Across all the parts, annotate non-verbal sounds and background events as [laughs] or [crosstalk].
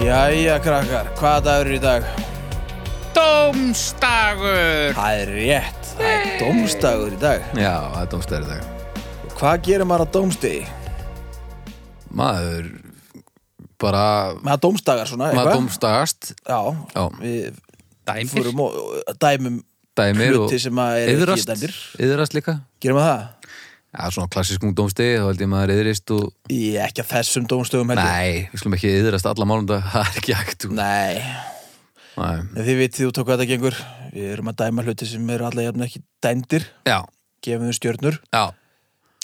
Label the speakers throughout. Speaker 1: Jæja krakkar, hvaða dagur er í dag?
Speaker 2: Dómstagur
Speaker 1: Það er rétt, það er dómstagur í dag
Speaker 2: Já, það er dómstagur í dag
Speaker 1: Hvað gerir maður á dómstegi?
Speaker 2: Maður bara
Speaker 1: Maður dómstagar svona,
Speaker 2: Maður
Speaker 1: eitthvað?
Speaker 2: dómstagast
Speaker 1: Já,
Speaker 2: Já,
Speaker 1: við
Speaker 3: Dæmir
Speaker 1: fórum og og dæmum
Speaker 2: dæmir og
Speaker 1: hluti sem að er
Speaker 2: yðrast
Speaker 1: ekki dæmir
Speaker 2: Yðrast líka
Speaker 1: Gerir maður það?
Speaker 2: Já, svona klassískum dómstegi Þá held ég maður yðrist og
Speaker 1: Ég ekki að þessum dómstögum heldur
Speaker 2: Nei, við skulum ekki yðrast alla málunda [laughs] Það er ekki hægt og-
Speaker 1: Nei,
Speaker 2: Nei.
Speaker 1: en þið vitið út á hvað þetta gengur Við erum að dæma hluti sem eru allavega jafn ekki dæmdir
Speaker 2: Já,
Speaker 1: Gefum þau stjörnur
Speaker 2: já,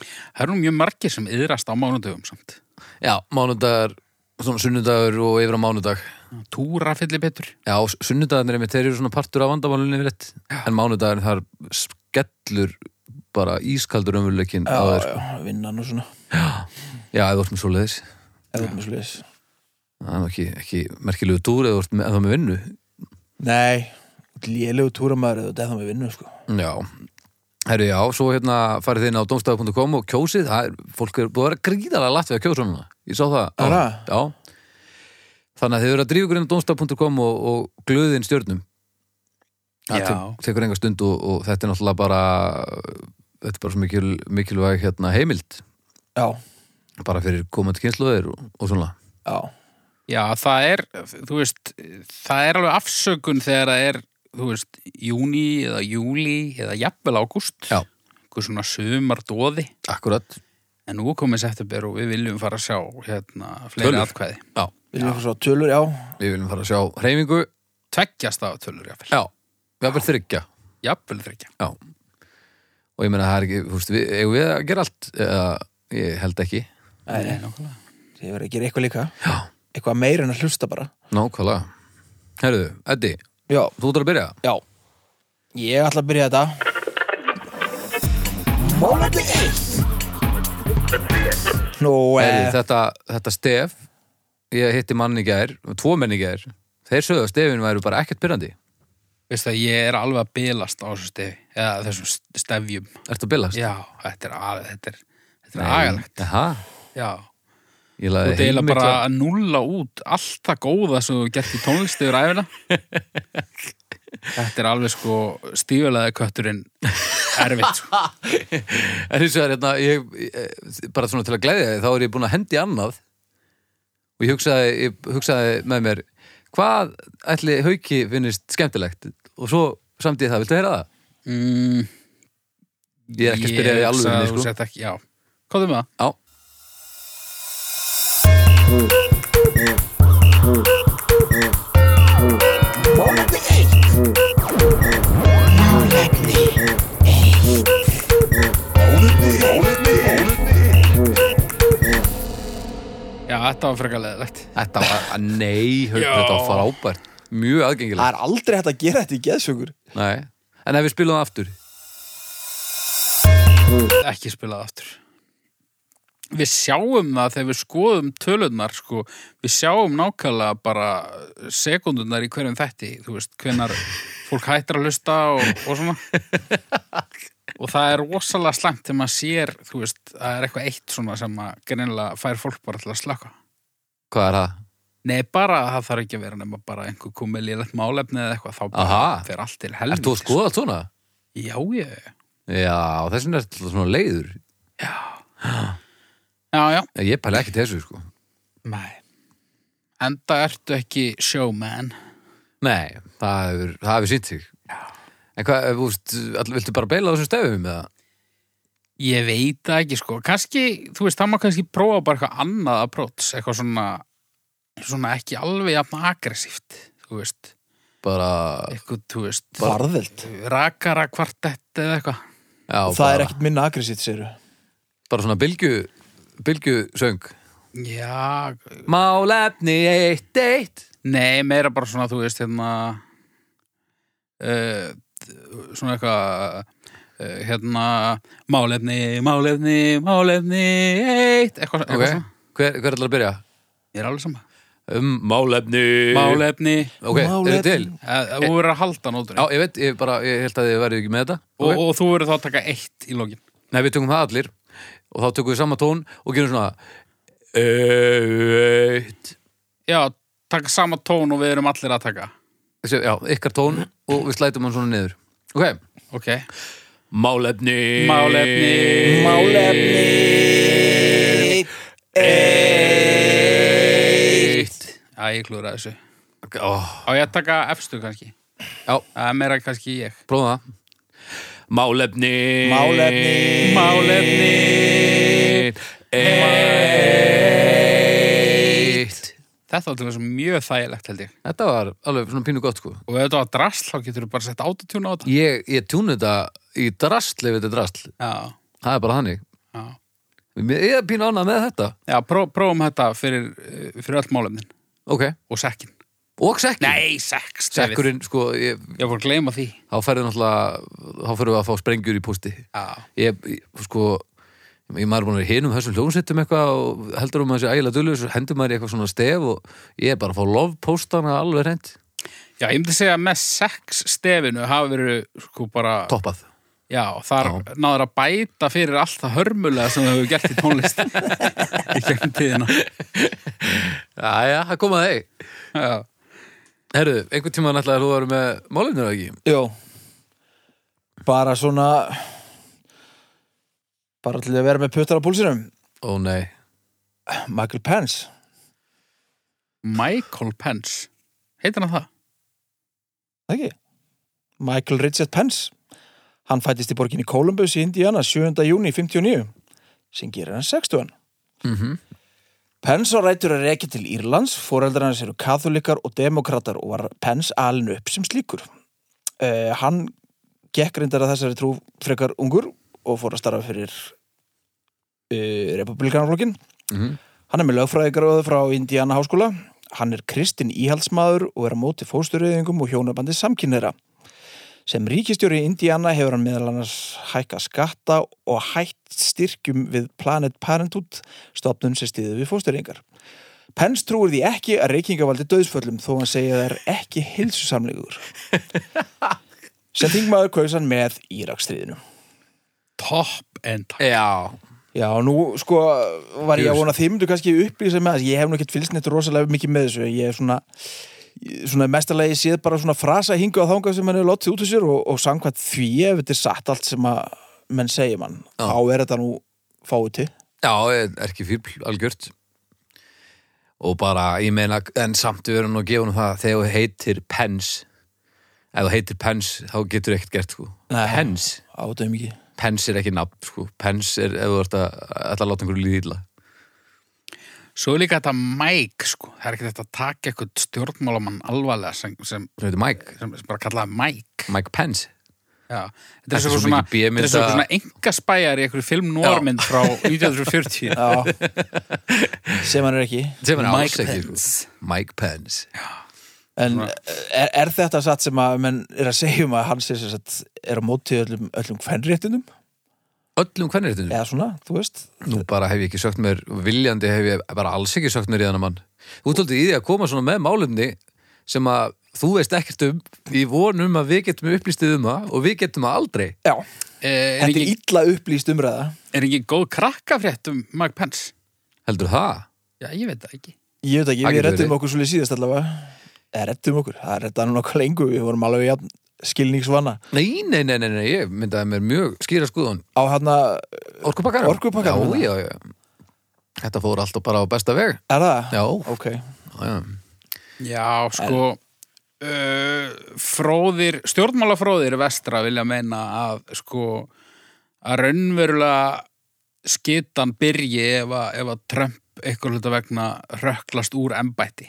Speaker 3: Það eru nú mjög margir sem yðrast á mánudögum samt
Speaker 2: já Mánudagar, svona sunnudagur og yfir á mánudag
Speaker 3: Túra fyllir betur
Speaker 2: Já, sunnudagarnir einmitt, þeir eru svona partur af vandamálunni yfir rétt En mánudagarnir þar skellur bara ískaldur umvöldleikin á
Speaker 1: Já,
Speaker 2: þeir
Speaker 1: já, vinnan og svona
Speaker 2: Já, ef þú ert með svoleiðis
Speaker 1: Eða með svoleiðis.
Speaker 2: Það er nú ekki, ekki merkilegu túr eða þú ert með, ef þú ert með vinnu
Speaker 1: Nei, lélegu túramæður eða það með vinnu sko.
Speaker 2: Já, herru já, svo hérna farið þið inn á domstafu.com og kjósið það er, fólk er búið að vera gríðalega látt við að kjósa núna Ég sá það
Speaker 1: Er
Speaker 2: áðan.
Speaker 1: það?
Speaker 2: Já Þannig að þið verið að drífa ykkur inn á domstafu.com og, og glöðin stjörnum Það
Speaker 3: Já.
Speaker 2: tek- tekur enga stund og, og þetta er náttúrulega bara þetta er bara svo mikil, mikilvæg hérna, heimild
Speaker 1: Já,
Speaker 2: bara fyrir komandi kynsluðir og, og svona
Speaker 1: já,
Speaker 3: Já, það er, þú veist Það er alveg afsökun þegar það er þú veist, júni eða júli eða jafnvel ágúst
Speaker 2: Já.
Speaker 3: Einhver svona sumardóði
Speaker 2: Akkurat
Speaker 3: En nú er komið september og við viljum fara að sjá hérna, fleiri
Speaker 2: Tölur.
Speaker 3: atkvæði
Speaker 2: Já,
Speaker 1: viljum við fá svo tölur, já
Speaker 2: við viljum fara að sjá hreyfingu
Speaker 3: Tveggjast af tölur, jafnvel
Speaker 2: Já, við erum þryggja
Speaker 3: Jafnvel þryggja
Speaker 2: Já Og ég meina það er ekki, þú veist, við, eigum við að gera allt eða, Ég held ekki
Speaker 1: Nei,
Speaker 3: nákvæmlega.
Speaker 1: Ég verið að gera eitthvað líka
Speaker 2: Já
Speaker 1: Eitthvað meira en að hlusta bara
Speaker 2: Nákvæmlega Herðu, Eddi,
Speaker 1: Já,
Speaker 2: þú ert að byrja
Speaker 1: já Ég ætla að byrja þetta Mólandi Nú,
Speaker 2: Herðu,
Speaker 1: eh,
Speaker 2: þetta, þetta stef Ég hitti mann í gær, tvo menn í gær Þeir sögðu að stefin væru bara ekkert byrjandi
Speaker 3: Veist það, ég er alveg að bilast á þessu stefi eða þessum stefjum
Speaker 2: Ertu að byrjast?
Speaker 3: Já, þetta er aðeins, þetta er, þetta er agalegt,
Speaker 2: Aha,
Speaker 3: já.
Speaker 2: ég
Speaker 3: Þú
Speaker 2: laði
Speaker 3: deila bara að nulla út allt það góða sem þú gert í tónlist yfir æfina. þetta er alveg sko stífulega kötturinn erfitt, sko.
Speaker 2: En hins vegar, hérna, ég, ég, bara svona til að gleðja þig, þá er ég búin að hendi annað og ég hugsaði, ég hugsaði með mér, hvað ætli hauki finnist skemmtilegt og svo samt ég það, viltu heyra það?
Speaker 3: Mm,
Speaker 2: [laughs] Ég er ekki að spyrja þig alveg
Speaker 3: hugsa að
Speaker 2: minni,
Speaker 3: þú
Speaker 2: sko.
Speaker 3: sért ekki- Já, hvað er með það?
Speaker 2: Já,
Speaker 3: Já, þetta var frekar leðilegt.
Speaker 2: þetta var, að [laughs] nei, hauki,
Speaker 3: Já.
Speaker 2: þetta var frábært, mjög
Speaker 1: það
Speaker 2: aðgengilegt.
Speaker 1: er aldrei hægt að gera þetta í geðsökur
Speaker 2: Nei, en ef við spilum það aftur,
Speaker 3: ekki spilað aftur við sjáum það þegar við skoðum tölunar sko, við sjáum nákvæmlega bara sekundunar í hverjum þætti þú veist, hvenar fólk hættir að hlusta og, og svona
Speaker 2: [laughs]
Speaker 3: og það er rosalega slæmt þegar maður sér, þú veist, það er eitthvað eitt svona sem að greinilega fær fólk bara til að slaka
Speaker 2: hvað er það?
Speaker 3: nei, bara það þarf ekki að vera nema bara einhver komið lélegt málefni eða eitthvað þá bara
Speaker 2: Aha.
Speaker 3: fer allt til
Speaker 2: Ert þú
Speaker 3: helvið
Speaker 2: að skoða allt svona?
Speaker 3: já, ég,
Speaker 2: Já, þess vegna er þetta svona leiður.
Speaker 3: já, já
Speaker 2: Ég pæli ekki þessu, sko.
Speaker 3: Nei. Enda ertu ekki showman.
Speaker 2: Nei, það hefur, það hefur sínt sig. Já. En hvað, ef þú veist, all- viltu bara beila á þessum stefum eða?
Speaker 3: Ég veit það ekki sko. Kanski, þú veist, það má kannski prófa bara eitthvað annað approach, eitthvað svona, svona ekki alveg jafn aggressíft, þú veist.
Speaker 2: bara,
Speaker 3: Eitthvað, þú veist,
Speaker 1: Varðveld
Speaker 3: rakara kvartett eða eitthvað.
Speaker 2: já,
Speaker 1: Það er
Speaker 2: bara,
Speaker 1: ekkert minna aggressít, segir
Speaker 2: bara svona bylgju bylgju söng
Speaker 3: Já,
Speaker 2: Málefni eitt eitt
Speaker 3: nei, meira bara svona, þú veist, hérna, uh, svona eitthvað, uh, hérna, málefni, málefni, málefni, eitt, eitthvað, eitthvað
Speaker 2: Ok,
Speaker 3: svona.
Speaker 2: hver, hver ætlar að byrja?
Speaker 3: Ég er alveg sama.
Speaker 2: Um málefni
Speaker 3: Málefni
Speaker 2: Ok, eru
Speaker 1: Málefni.
Speaker 2: til?
Speaker 3: Eh, Þú verður að halda nótunni
Speaker 2: Já, ég veit, ég bara, ég held að þið verið ekki með þetta
Speaker 3: og,
Speaker 2: Ok.
Speaker 3: og þú verður þá að taka eitt í lokin
Speaker 2: Nei, við tökum það allir og þá tökum við sama tón og gerum svona Eitt
Speaker 3: Já, taka sama tón og við erum allir að taka
Speaker 2: Þessi- Já, ykkar tón og við slætum hann svona niður Ok,
Speaker 3: ok,
Speaker 2: málefni Eh.
Speaker 3: málefni
Speaker 1: Málefni
Speaker 3: eitt já, ég klúra þessu
Speaker 2: Ó,
Speaker 3: á ég að taka efstu kannski
Speaker 2: Já,
Speaker 3: það er meira kannski ég
Speaker 2: prófa það Málefni
Speaker 1: Málefni
Speaker 2: Málefni Eitt
Speaker 3: þetta var til þess mjög þægilegt held ég
Speaker 2: Þetta var alveg svona pínu gott sko
Speaker 3: og ef þetta var drasl þá getur þú bara sett autotune á þetta
Speaker 2: Ég, ég tún þetta í drasl ef þetta er drasl
Speaker 3: já,
Speaker 2: Það er bara hannig
Speaker 3: já,
Speaker 2: Ég er pínu ánað með þetta
Speaker 3: já pró, prófum þetta fyrir, eh, fyrir öll málefnin
Speaker 2: Ok,
Speaker 3: og sekkin
Speaker 2: og sekkur
Speaker 3: nei, sekk, sagði við.
Speaker 2: Sekkurinn, sko, ég,
Speaker 3: ég var að gleyma því
Speaker 2: þá færðu náttúrulega þá færðu að fá sprengjur í pústi
Speaker 3: já,
Speaker 2: ég, ég, sko ég maður er búin að vera hinum þessum hljómsveitum eitthvað og heldur um að þessi ægilega dullu og hendur maður í eitthvað svona stef og ég er bara að fá lovpóstana alveg reynd
Speaker 3: já ég myndi segja að með sex stefinu hafa verið sko bara
Speaker 2: toppað
Speaker 3: já, þar
Speaker 2: Já.
Speaker 3: náður að bæta fyrir allt það hörmulega sem þau hefur gert í tónlist í gegnum tíðina
Speaker 2: Jæja, það kom að þeir
Speaker 3: já,
Speaker 2: Herru, einhvern tíma náttúrulega þú varum með málefnir eða ekki
Speaker 1: Jó Bara svona Bara til að vera með puttar á púlsinum
Speaker 2: Ó nei,
Speaker 1: Michael Pence
Speaker 3: Michael Pence heitir hann það?
Speaker 1: Það ekki? Michael Richard Pence Hann fættist í borginni Columbus í Indiana 7. júni 59 sem gerir hann 60
Speaker 2: Mhm.
Speaker 1: Pence á rætur að rekja til Írlands foreldrar hans eru katholikar og demokratar og var Pence alinu upp sem slíkur uh, Hann gekk reyndar að þessari trú frekar ungur og fór að starfa fyrir uh, republikanarflokkin
Speaker 2: Mhm.
Speaker 1: Hann er með lögfræðigráðu frá Indiana háskóla Hann er kristin íhaldsmaður og er á móti fóstureyðingum og hjónabandi samkynneira Sem ríkistjóri í Indiana hefur hann meðal annars hækka skatta og hætt styrkjum við Planet Parenthood stofnun sem stiði við fóstureyðingar. Pence trúir því ekki að reykingavaldi döðsföllum þó hann segja það er ekki heilsusamlegur. Sem þingmaður kaus hann með Írakstriðinu.
Speaker 3: Top end
Speaker 2: Já,
Speaker 1: Já, nú sko var ég að
Speaker 2: Fjörs.
Speaker 1: vona að þið myndu kannski upplýsa með þess, ég hef nú ekkert fylst neitt rosalega mikið með þessu, ég er svona svona mestalegi séð bara svona frasa hinga á þangað sem hann hefur látið út úr sér og, og samkvæmt því ef þetta er satt allt sem að menn segir mann,
Speaker 2: Já.
Speaker 1: þá er þetta nú fáið til.
Speaker 2: já, er ekki fíbl algjört og bara, ég meina, en samt við erum nú að gefa nú það, þegar þú heitir Pence ef þú heitir Pence, þá getur ekkert gert sko.
Speaker 1: Nei.
Speaker 2: Pence
Speaker 1: Á þetta er mikið.
Speaker 2: Pens er ekki nafn, sko. Pens er ef þú ert að, ætla að láta einhverju líða illa.
Speaker 3: Svo er líka þetta Mike sko, það er ekki þetta að taka eitthvað stjórnmálamann alvarlega sem, sem,
Speaker 2: Hún heitir Mike.
Speaker 3: sem, sem bara kallaði Mike
Speaker 2: Mike Pence.
Speaker 3: Já, þetta
Speaker 2: Þetta
Speaker 3: er
Speaker 2: er
Speaker 3: svo
Speaker 2: svo
Speaker 3: svona,
Speaker 2: mikið
Speaker 3: þetta
Speaker 2: B-mynda-
Speaker 3: er svo svona enga spæjar í einhverju film normynd frá 1940
Speaker 1: [laughs] Já, sem hann er ekki.
Speaker 2: Sem er alls
Speaker 3: Mike
Speaker 2: ekki,
Speaker 3: Pence.
Speaker 2: sko. Mike Pence.
Speaker 1: En er, er þetta satt sem að menn er að segja um að hann sé sem sagt er á mótið öllum, öllum kvenréttinum?
Speaker 2: Öllum hvernig er þetta?
Speaker 1: Eða svona, þú veist?
Speaker 2: Nú bara hef ég ekki sögt mér, viljandi hef ég bara alls ekki sögt mér í þannig mann. Þú tóldi í því að koma svona með málumni sem að þú veist ekkert um, við vonum að við getum upplýstið um það og við getum það aldrei.
Speaker 1: Já,
Speaker 3: Eh, Er
Speaker 1: þetta er
Speaker 3: ekki,
Speaker 1: illa upplýst umræða.
Speaker 3: er ekki góð krakkafrétt um Mike Pence?
Speaker 2: Heldur það?
Speaker 3: Já, ég veit það ekki
Speaker 1: Ég veit ekki,
Speaker 2: Það
Speaker 1: við
Speaker 2: getur
Speaker 1: rettum
Speaker 2: verið.
Speaker 1: okkur svolítið síðast allavega eða rettum okkur, það retta nú nokkuð lengu við vorum alveg jafn skilningsvanna
Speaker 2: Nei, nei, nei, nei, nei, ég myndaði mér mjög skýra skoðun.
Speaker 1: á hérna, hann að,
Speaker 2: Orkupakkarum?
Speaker 1: Orkupakkanum,
Speaker 2: Já, já, já. Þetta fór alltaf bara á besta veg.
Speaker 1: er það?
Speaker 2: Já,
Speaker 1: Ok,
Speaker 2: já, já.
Speaker 3: Já, sko uh, fróðir, stjórnmálafróðir vestra vilja meina að sko að raunverulega skitan byrji ef að, ef að Trump eitthvað hluta vegna röklast úr embætti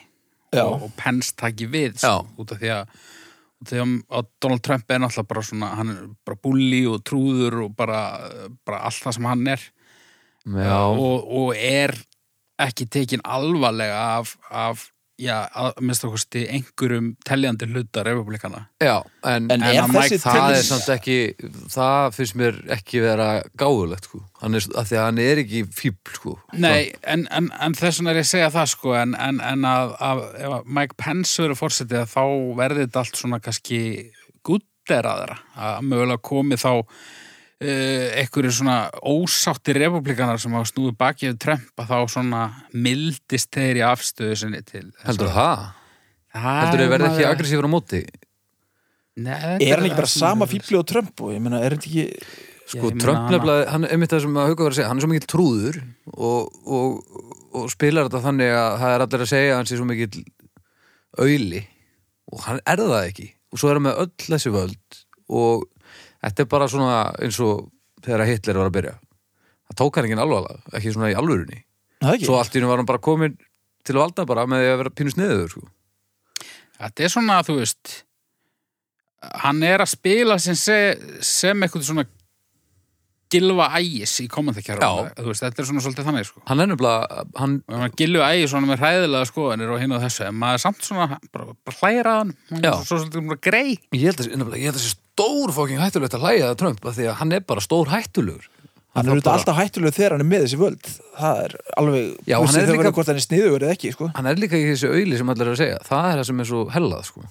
Speaker 1: Já.
Speaker 3: og, og Pence taki við
Speaker 2: Já.
Speaker 3: sko, út af því að út af því að- að Donald Trump er náttúrulega bara svona, hann er bara búli og trúður og bara, bara allt það sem hann er
Speaker 2: Já,
Speaker 3: og, og er ekki tekin alvarlega af, af já, að minnst okkursti einhverjum teljandi hluta republikana.
Speaker 2: já, en,
Speaker 1: En er
Speaker 2: að
Speaker 1: þessi
Speaker 2: Mike, það
Speaker 1: tilvist-
Speaker 2: er samt ekki það finnst mér ekki vera gáðulegt sko. hann er, af því að hann er ekki fíbl sko.
Speaker 3: Nei, en, en, en þess vegna er ég að segja það sko, en, en, en að, að, ef að Mike Pence verður fórsetið þá verði þetta allt svona kannski gutteraðra, að mögulega komi þá uh, einhverju svona ósátti republikanar sem hafa snúið bakið við Trump að þá svona mildist þeir í afstöðu sinni til
Speaker 2: Heldur það? Heldur þau verði ekki aggressífur á móti?
Speaker 1: Er hann ekki bara sama fíbli og Trump og ég meina, er hann ekki
Speaker 2: Sko,
Speaker 3: Ég meina
Speaker 2: Trump
Speaker 3: hana-
Speaker 2: nefnilega, hann er mitt það sem að Hauka var að segja, hann er svo mikill trúður og, og, og spilar þetta þannig að það er allir að segja að hann sé svo mikill auðli og hann er það ekki og svo er hann með öll þessi völd og þetta er bara svona eins og þegar Hitler var að byrja það tók hann ekki alvarlega, ekki svona í alvörunni
Speaker 1: Það ekki?
Speaker 2: svo allt í hennu var hann bara komin til valda bara með því að vera pínu sniður sko.
Speaker 3: Þetta er svona, þú veist hann er að spila sem, se, sem eitthvað svona gilva ægis í komandakjara
Speaker 2: Já.
Speaker 3: þetta er svona svolítið þannig sko.
Speaker 2: hann er nefnilega, hann
Speaker 3: og hann gilva ægis svona með hræðilega skoðanir og hinn og þessu, en maður er samt svona bara, bara hlæra hann, hann
Speaker 2: Já.
Speaker 3: er svo svolítið bara grei
Speaker 2: ég held að, nefnilega, ég held að sé stór fóking hættulegt að hlæja að Trump af því að hann er bara stór hættulegur
Speaker 1: Hann er auðvitað alltaf hættulegur þegar hann er með þessi völd Það er alveg, vissi
Speaker 2: Já, hann er
Speaker 1: þau verið
Speaker 2: líka-
Speaker 1: hvort hann er sniðugur eða ekki, sko
Speaker 2: hann er líka ekki þessi auðli sem allir er að segja það er það sem er svo hellað sko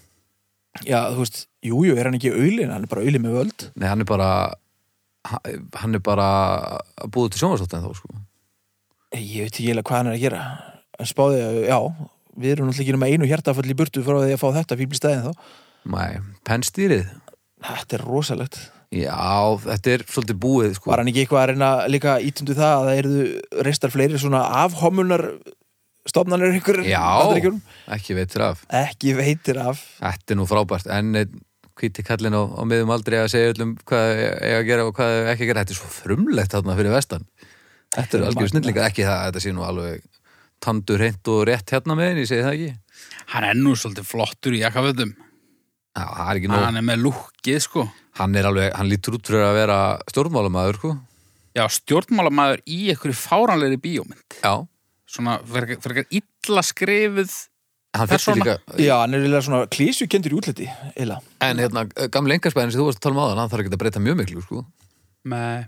Speaker 1: Já, þú veist, jújú, jú, er hann ekki auðlin, hann er bara auðlin með völd
Speaker 2: Nei, hann er bara hann er bara að búið til sjónvarsótt en þá sko
Speaker 1: Ég veit ekki eiginlega hvað hann er að gera En spáði, að, já, við erum náttúrulega ekki nema einu hjartafall í burtu frá því að fá þetta fíbli stæðin þá
Speaker 2: Nei, pennstýrið
Speaker 1: Þetta er rosalegt
Speaker 2: Já, þetta er svolítið búið sko
Speaker 1: Var hann ekki eitthvað að reyna líka ítundu það að það eru reistar fleiri svona afhomunar stofnanir ykkur
Speaker 2: Já, ekki veitir af
Speaker 1: Ekki veitir af
Speaker 2: Þetta er nú frábært en einn hvíti kallinn á, á miðum aldrei að segja öllum hvað ég að gera og hvað eiga ekki að gera þetta er svo frumlegt þarna fyrir vestan Þetta er algjör
Speaker 1: Magnað.
Speaker 2: snillingar ekki það að þetta sé nú alveg tandur reynd og rétt hérna með ég segi það ekki
Speaker 3: hann er nú svolítið flottur í jakkafötum
Speaker 2: Já, það er ekki nóg
Speaker 3: hann er með lúkið sko
Speaker 2: hann er alveg, hann lítur út fyrir að vera stjórnmálamæður, sko.
Speaker 3: já, stjórnmálamaður í einhverju fáranlegri bíómynd
Speaker 2: Já.
Speaker 3: svona verkar verkar illa skrifuð
Speaker 2: Hann þurfti
Speaker 3: Persóna.
Speaker 2: líka,
Speaker 1: Já, hann er eiginlega svona klísjukendur í útliti Eila
Speaker 2: en hérna, gamli engarspæðin sem þú varst að tala um áðan, hann þarf ekki að breyta mjög miklu, sko.
Speaker 3: Nei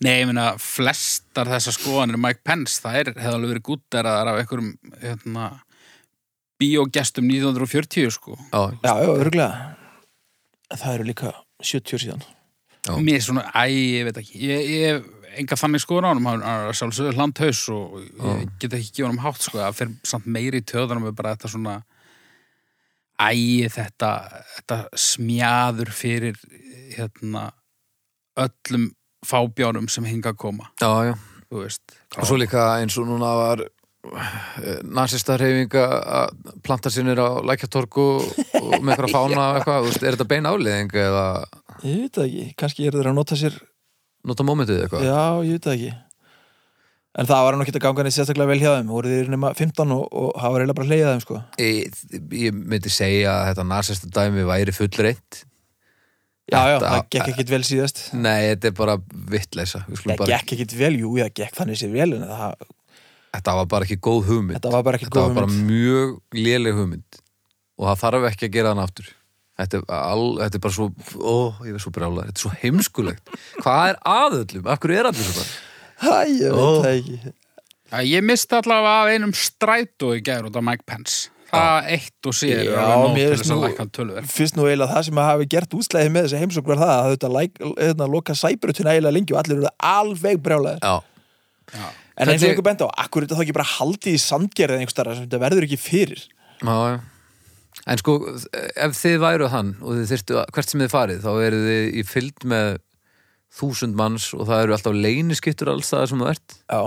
Speaker 3: Nei, ég meina, flestar þessar skoðanir Mike Pence, það er, hefði alveg verið gútteraðar af einhverjum hérna, bíógestum 1940 sko.
Speaker 2: Já.
Speaker 1: Já, já, örgulega Það eru líka 70 síðan
Speaker 2: Já.
Speaker 3: Mér er svona, æ, ég veit ekki ég, ég enga þannig skoðan á honum hann hann er sjálfsögur landhaus og ég get ekki gefið honum hátt sko, það fer samt meiri í töðanum með bara þetta svona æ, þetta, þetta smjáður fyrir hérna öllum fábjánum sem hinga að koma,
Speaker 2: Já, já.
Speaker 3: þú veist
Speaker 2: Og svo líka eins og núna var nazista reyfinga að planta sínir á lækjartorku og með [laughs] eitthvað fána og eitthvað, þú veist, er þetta bein áliðing eða
Speaker 1: Ég veit það ekki, kannski eru þeir að nota sér
Speaker 2: nota mómentið eitthvað?
Speaker 1: Já, ég veit það ekki En það var hann ekki að ganga neitt sérstaklega vel hjá þeim voru þeir nema 15 og, og hafa reyla bara hleyjað þeim sko.
Speaker 2: Ég, ég myndi segja að þetta nazista dæmi væri fullreitt.
Speaker 1: Já, já,
Speaker 2: Þetta-
Speaker 1: það gekk ekkit vel síðast
Speaker 2: Nei, þetta er bara vittleisa.
Speaker 1: Það gekk ekkit vel, jú, það gekk þannig sér vel en það,
Speaker 2: Þetta var bara ekki góð hugmynd.
Speaker 1: þetta var bara ekki
Speaker 2: þetta
Speaker 1: góð
Speaker 2: var bara
Speaker 1: hugmynd.
Speaker 2: mjög léleg hugmynd og það þarf ekki að gera hann aftur þetta er, all, þetta er bara svo ó, ég er svo brjála, þetta er svo heimskulegt hvað er aðöllum, af hverju er allir svo bara
Speaker 1: Hæ, ég veit
Speaker 2: Ó.
Speaker 1: það ekki
Speaker 3: Já, ég misti allavega af einum strætó í gær út af Mike Pence. Það eitt og sér
Speaker 1: Já,
Speaker 3: er alveg
Speaker 1: mér
Speaker 3: nóg til
Speaker 1: finnst
Speaker 3: þess að
Speaker 1: nú-
Speaker 3: lækka tölver.
Speaker 1: Fyrst nú eiginlega það sem að hafi gert útslæði með þessi heimsókn var það að þetta læk, hérna, loka sæbrutina eiginlega lengi og allir eru alveg brjálæðir
Speaker 2: já,
Speaker 1: En eins og
Speaker 2: Hvernig-
Speaker 1: einhver benda á, akkur er þetta þá ekki bara haldið í sandgerðið einhver starra sem þetta verður ekki fyrir
Speaker 2: já, já en sko, ef þið væru hann og þið þyrftu, að- hvert sem þið farið þá eru þið í fylgd með þúsund manns og það eru alltaf leyniskittur alls það sem þú ert
Speaker 1: Já,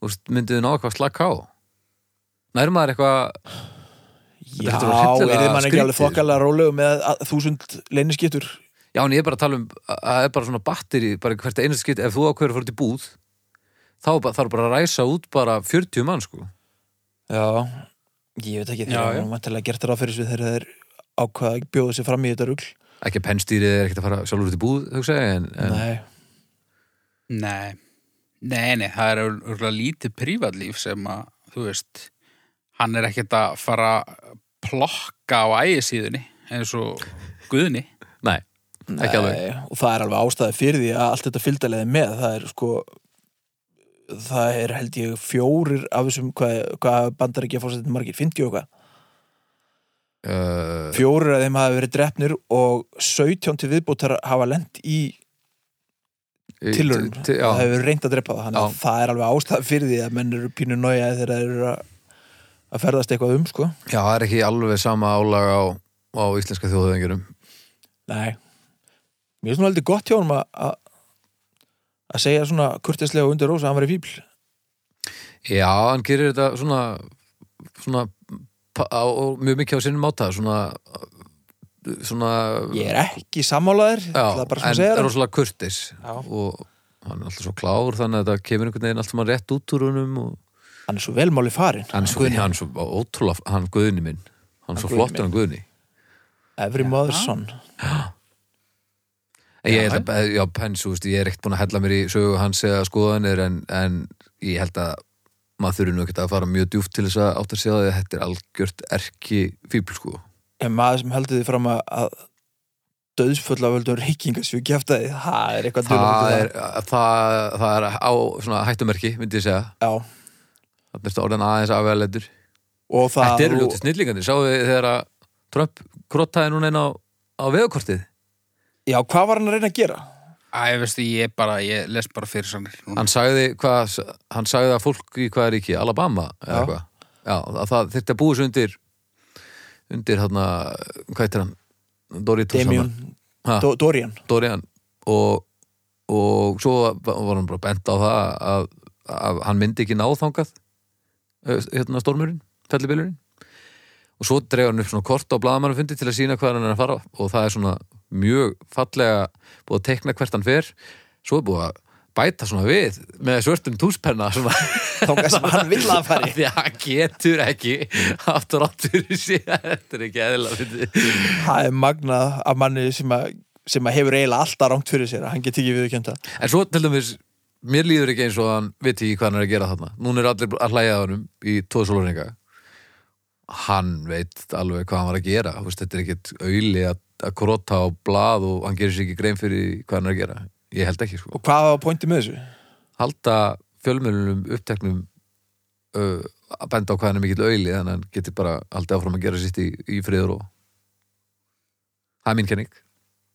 Speaker 2: og mynduðu ná eitthvað slaka á nær maður eitthvað
Speaker 1: já,
Speaker 2: þetta var hryllilega
Speaker 1: er þið mann ekki
Speaker 2: skrítið.
Speaker 1: alveg þokkalega rólegur með að- þúsund leyniskittur
Speaker 2: Já, en ég er bara að tala um að það er bara svona batteri, bara hvert einast skipt ef þú ákveður að fara út í búð þá er bara- þarf bara að ræsa út bara 40 mann sko.
Speaker 1: Já, ég veit ekki
Speaker 3: Já,
Speaker 1: þegar
Speaker 3: já.
Speaker 1: hann vantilega gert ráð fyrir þessu þegar þeir ákvaða að bjóða sér fram í þetta rugl
Speaker 2: ekki að pennstýrið er ekkert að fara sjálfur út í búð hugsa, ég, en, en
Speaker 1: Nei,
Speaker 3: Nei, nei, nei, það er örgulega lítið prívatlíf sem að, þú veist, hann er ekkert að fara að plokka á ægisíðunni eins og guðni.
Speaker 2: nei, ekki alveg
Speaker 1: Nei, og það er alveg ástæði fyrir því að allt þetta fylgdaleið með, það er sko það er held ég fjórir af þessum, hvað, hvað bandar ekki að fórsetja margir, 50 og eitthvað
Speaker 2: uh,
Speaker 1: fjórir af þeim hafa verið drefnir og 17 til viðbútar hafa lent í
Speaker 2: Í-
Speaker 1: tilurinn,
Speaker 2: til- til- já.
Speaker 1: það hefur reynd að drepa það þannig að
Speaker 2: Já.
Speaker 1: það er alveg ástæð fyrir því að menn eru pínu nája þegar þeir eru að að ferðast eitthvað um sko
Speaker 2: Já, það er ekki alveg sama álag á, á íslenska þjóðhöfingurum
Speaker 1: Nei, mér er svona heldur gott hjá honum að- að að segja svona kurtislega undir rósa að hann var í fíbl
Speaker 2: Já, hann gerir þetta svona, svona pa- á, á, mjög mikið á sinni máta svona, svona
Speaker 1: ég er ekki sammálaður
Speaker 2: Já,
Speaker 1: það er bara svona að
Speaker 2: en
Speaker 1: segja
Speaker 2: er
Speaker 1: það
Speaker 2: rosalega kurtis
Speaker 1: Já.
Speaker 2: og hann er alltaf svo klár þannig að það kemur einhvern veginn alltaf maður rétt út úr honum og
Speaker 1: hann er svo velmáli farin
Speaker 2: hann er svo, hann er svo ótrúlega, hann guðni minn hann er svo
Speaker 1: Guðni
Speaker 2: flottur hann guðni
Speaker 1: every mother's son
Speaker 2: En ég
Speaker 3: Já,
Speaker 2: held að, já, Pence, þú veist, ég er ekkert búin að hella mér í sögu hans eða skoðanir en, en ég held að maður þurfi nú ekkert að fara mjög djúft til þess að átt að segja að þetta er algjört erki fíbl, sko.
Speaker 1: en maður sem heldur því fram að, að döðsfull af völdum reykingasvíu kjæftæði, það er eitthvað
Speaker 2: Það
Speaker 1: dularfullt
Speaker 2: er, það, það er á svona hættumerki, myndi ég segja.
Speaker 1: við það. Já,
Speaker 2: Þannig er orðin aðeins afvegaleitur.
Speaker 1: og það
Speaker 2: Þetta eru
Speaker 1: og-
Speaker 2: ljóti snillingandi. Sáu þið þegar að Trump krottaði núna einn á, á vegukortið?
Speaker 1: já, hvað var hann að reyna að gera?
Speaker 3: Æ, veistu, ég bara, ég les bara fyrir sannir núna.
Speaker 2: Hann sagði, hvað, hann sagði að fólk í hvaða ríki, Alabama eða
Speaker 1: Já.
Speaker 2: hvað. Já, að það þyrfti að búi sig undir undir hann hvað heitir hann? Doritos
Speaker 1: Damien,
Speaker 2: Ha?
Speaker 1: Do Dorian
Speaker 2: Dorian og, og svo var hann bara bent á það að, að hann myndi ekki náðþangað hérna stormurinn, fellibillurinn og svo dregur hann upp svona kort á blaðamannafundi til að sína hvað hann er að fara og það er svona mjög fallega búið að tekna hvert hann fer svo er búið að bæta svona við með svörtum túspenna svona
Speaker 1: þókað sem hann vill að hann
Speaker 2: [laughs] Af
Speaker 1: fari
Speaker 2: því að hann getur ekki haft rátt fyrir sér þetta er ekki eðla
Speaker 1: það er magnað af manni sem að sem að hefur eiginlega alltaf rangt fyrir sér að hann geti ekki viðurkjönda
Speaker 2: En svo til dæmis, mér líður ekki eins og hann viti ekki hvað hann er að gera þarna. Núna er allir að hlæja að honum í tóðsóluringa. Hann veit alveg hvað hann var að gera. Þú Veist, þetta er ekkit auðli að, að krota á blað og hann gerir sér ekki grein fyrir hvað hann er að gera. Ég held ekki, sko.
Speaker 1: og hvað var pointið með þessu?
Speaker 2: Halda fjölmjölunum uppteknum uh, að benda á hvað hann er mikill auðli þannig að hann getur bara aldrei áfram að gera sitt í, í friður og það er mín kenning.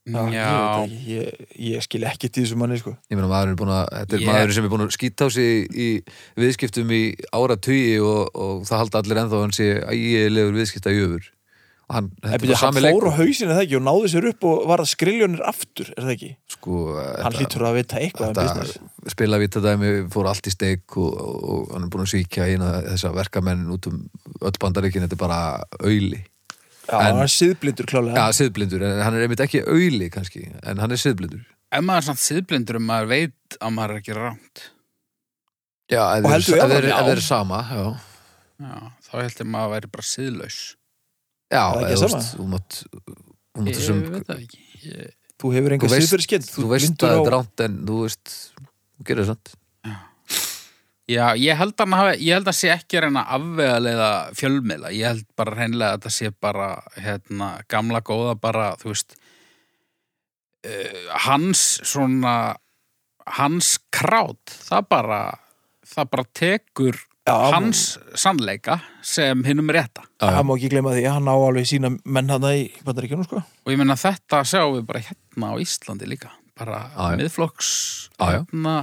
Speaker 3: Já,
Speaker 1: ég, veit ekki, ég, ég skil ekki til þessu manni sko.
Speaker 2: Ég meina maður er búin að, þetta er
Speaker 3: Ég-
Speaker 2: maður sem er búin að skýta á sig í, í viðskiptum í ára tugi og, og það halda allir ennþá að hann sé ægilegur viðskipta yfir. Og hann, þetta
Speaker 1: en
Speaker 2: er
Speaker 1: byrja,
Speaker 2: bara
Speaker 1: hann
Speaker 2: sami
Speaker 1: fór
Speaker 2: leikur.
Speaker 1: á hausinu það ekki og náði sér upp og var að skriljónir aftur er það ekki?
Speaker 2: Sko,
Speaker 1: hann hlýtur að vita eitthvað um business
Speaker 2: þetta spila vita dæmi, fór allt í steik og, og, og hann er búin að svíkja hérna þessa verkamenn út um öll bandaríkin, þetta er bara auðli.
Speaker 1: já,
Speaker 2: en-
Speaker 1: hann var síðblindur
Speaker 2: Já,
Speaker 1: klálega
Speaker 2: siðblindur, en hann er einmitt ekki auðli kannski, en hann er siðblindur.
Speaker 3: ef maður er samt síðblindur um maður veit að maður er ekki rámt.
Speaker 2: Já, ef
Speaker 1: Og
Speaker 2: þeir-
Speaker 1: heldur
Speaker 2: ef
Speaker 1: við áfram,
Speaker 2: þeir ef
Speaker 1: já.
Speaker 2: þeir eru sama, já.
Speaker 3: Já, þá heldur maður að væri bara síðlaus.
Speaker 2: Já,
Speaker 1: Það er ekki
Speaker 2: eða, þú
Speaker 1: sama.
Speaker 2: veist, þú mátt, þú
Speaker 3: Ég
Speaker 2: mátt þessum
Speaker 3: veit það ekki. Ég,
Speaker 1: þú hefur
Speaker 2: Þú
Speaker 1: enga
Speaker 2: veist-
Speaker 1: síðfyrir skinn
Speaker 2: þú veist að þetta er ránt en þú veist, þú gerir það sant
Speaker 3: já, ég held að maður hafi, ég held að sé ekki að reyna afvegaleiða fjölmiðla. Ég held bara hreinlega að það sé bara, hérna, gamla góða bara, þú veist, uh, hans svona, hans krát, það bara, það bara tekur
Speaker 1: hans
Speaker 3: hans sannleika sem hinnum rétta.
Speaker 1: hann má ekki gleyma því, hann á alveg sína menn hann í bandaríkjunum sko
Speaker 3: Og ég meina þetta sjáum við bara hérna á Íslandi líka. Bara
Speaker 2: Já, já.
Speaker 3: miðflokks,
Speaker 2: Já, já.
Speaker 3: hérna,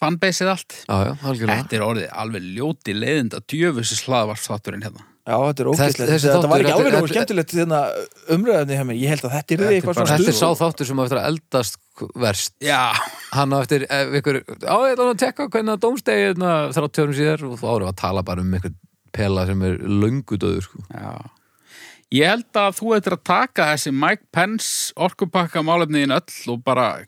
Speaker 3: fanbaseið allt.
Speaker 2: Já, já, algjörlega
Speaker 3: Þetta er orðið alveg ljóti leiðinda djöfusi slaðvarstátturinn hérna.
Speaker 1: Já, þetta er ógæslegt.
Speaker 2: þessi
Speaker 1: Þetta var
Speaker 2: þáttur-
Speaker 1: ekki alveg
Speaker 2: þetta-
Speaker 1: nógu skemmtilegt þegar umræðinni hjá mér. Ég held að þetta er eitthvað
Speaker 2: bara-
Speaker 1: svona
Speaker 2: Þetta er
Speaker 1: stuð.
Speaker 2: sá þáttur sem á eftir að eldast verst
Speaker 3: Já,
Speaker 2: Hann á eftir ef ykkur Á, ég ætla nú að tekka hvernig að dómstegi hérna, þrátt tjórum síðar og þú árum að tala bara um einhvern pela sem er löngudöður sko.
Speaker 3: já. Ég held að þú eitthvað að taka þessi Mike Pence orkupakka málefniðin öll og bara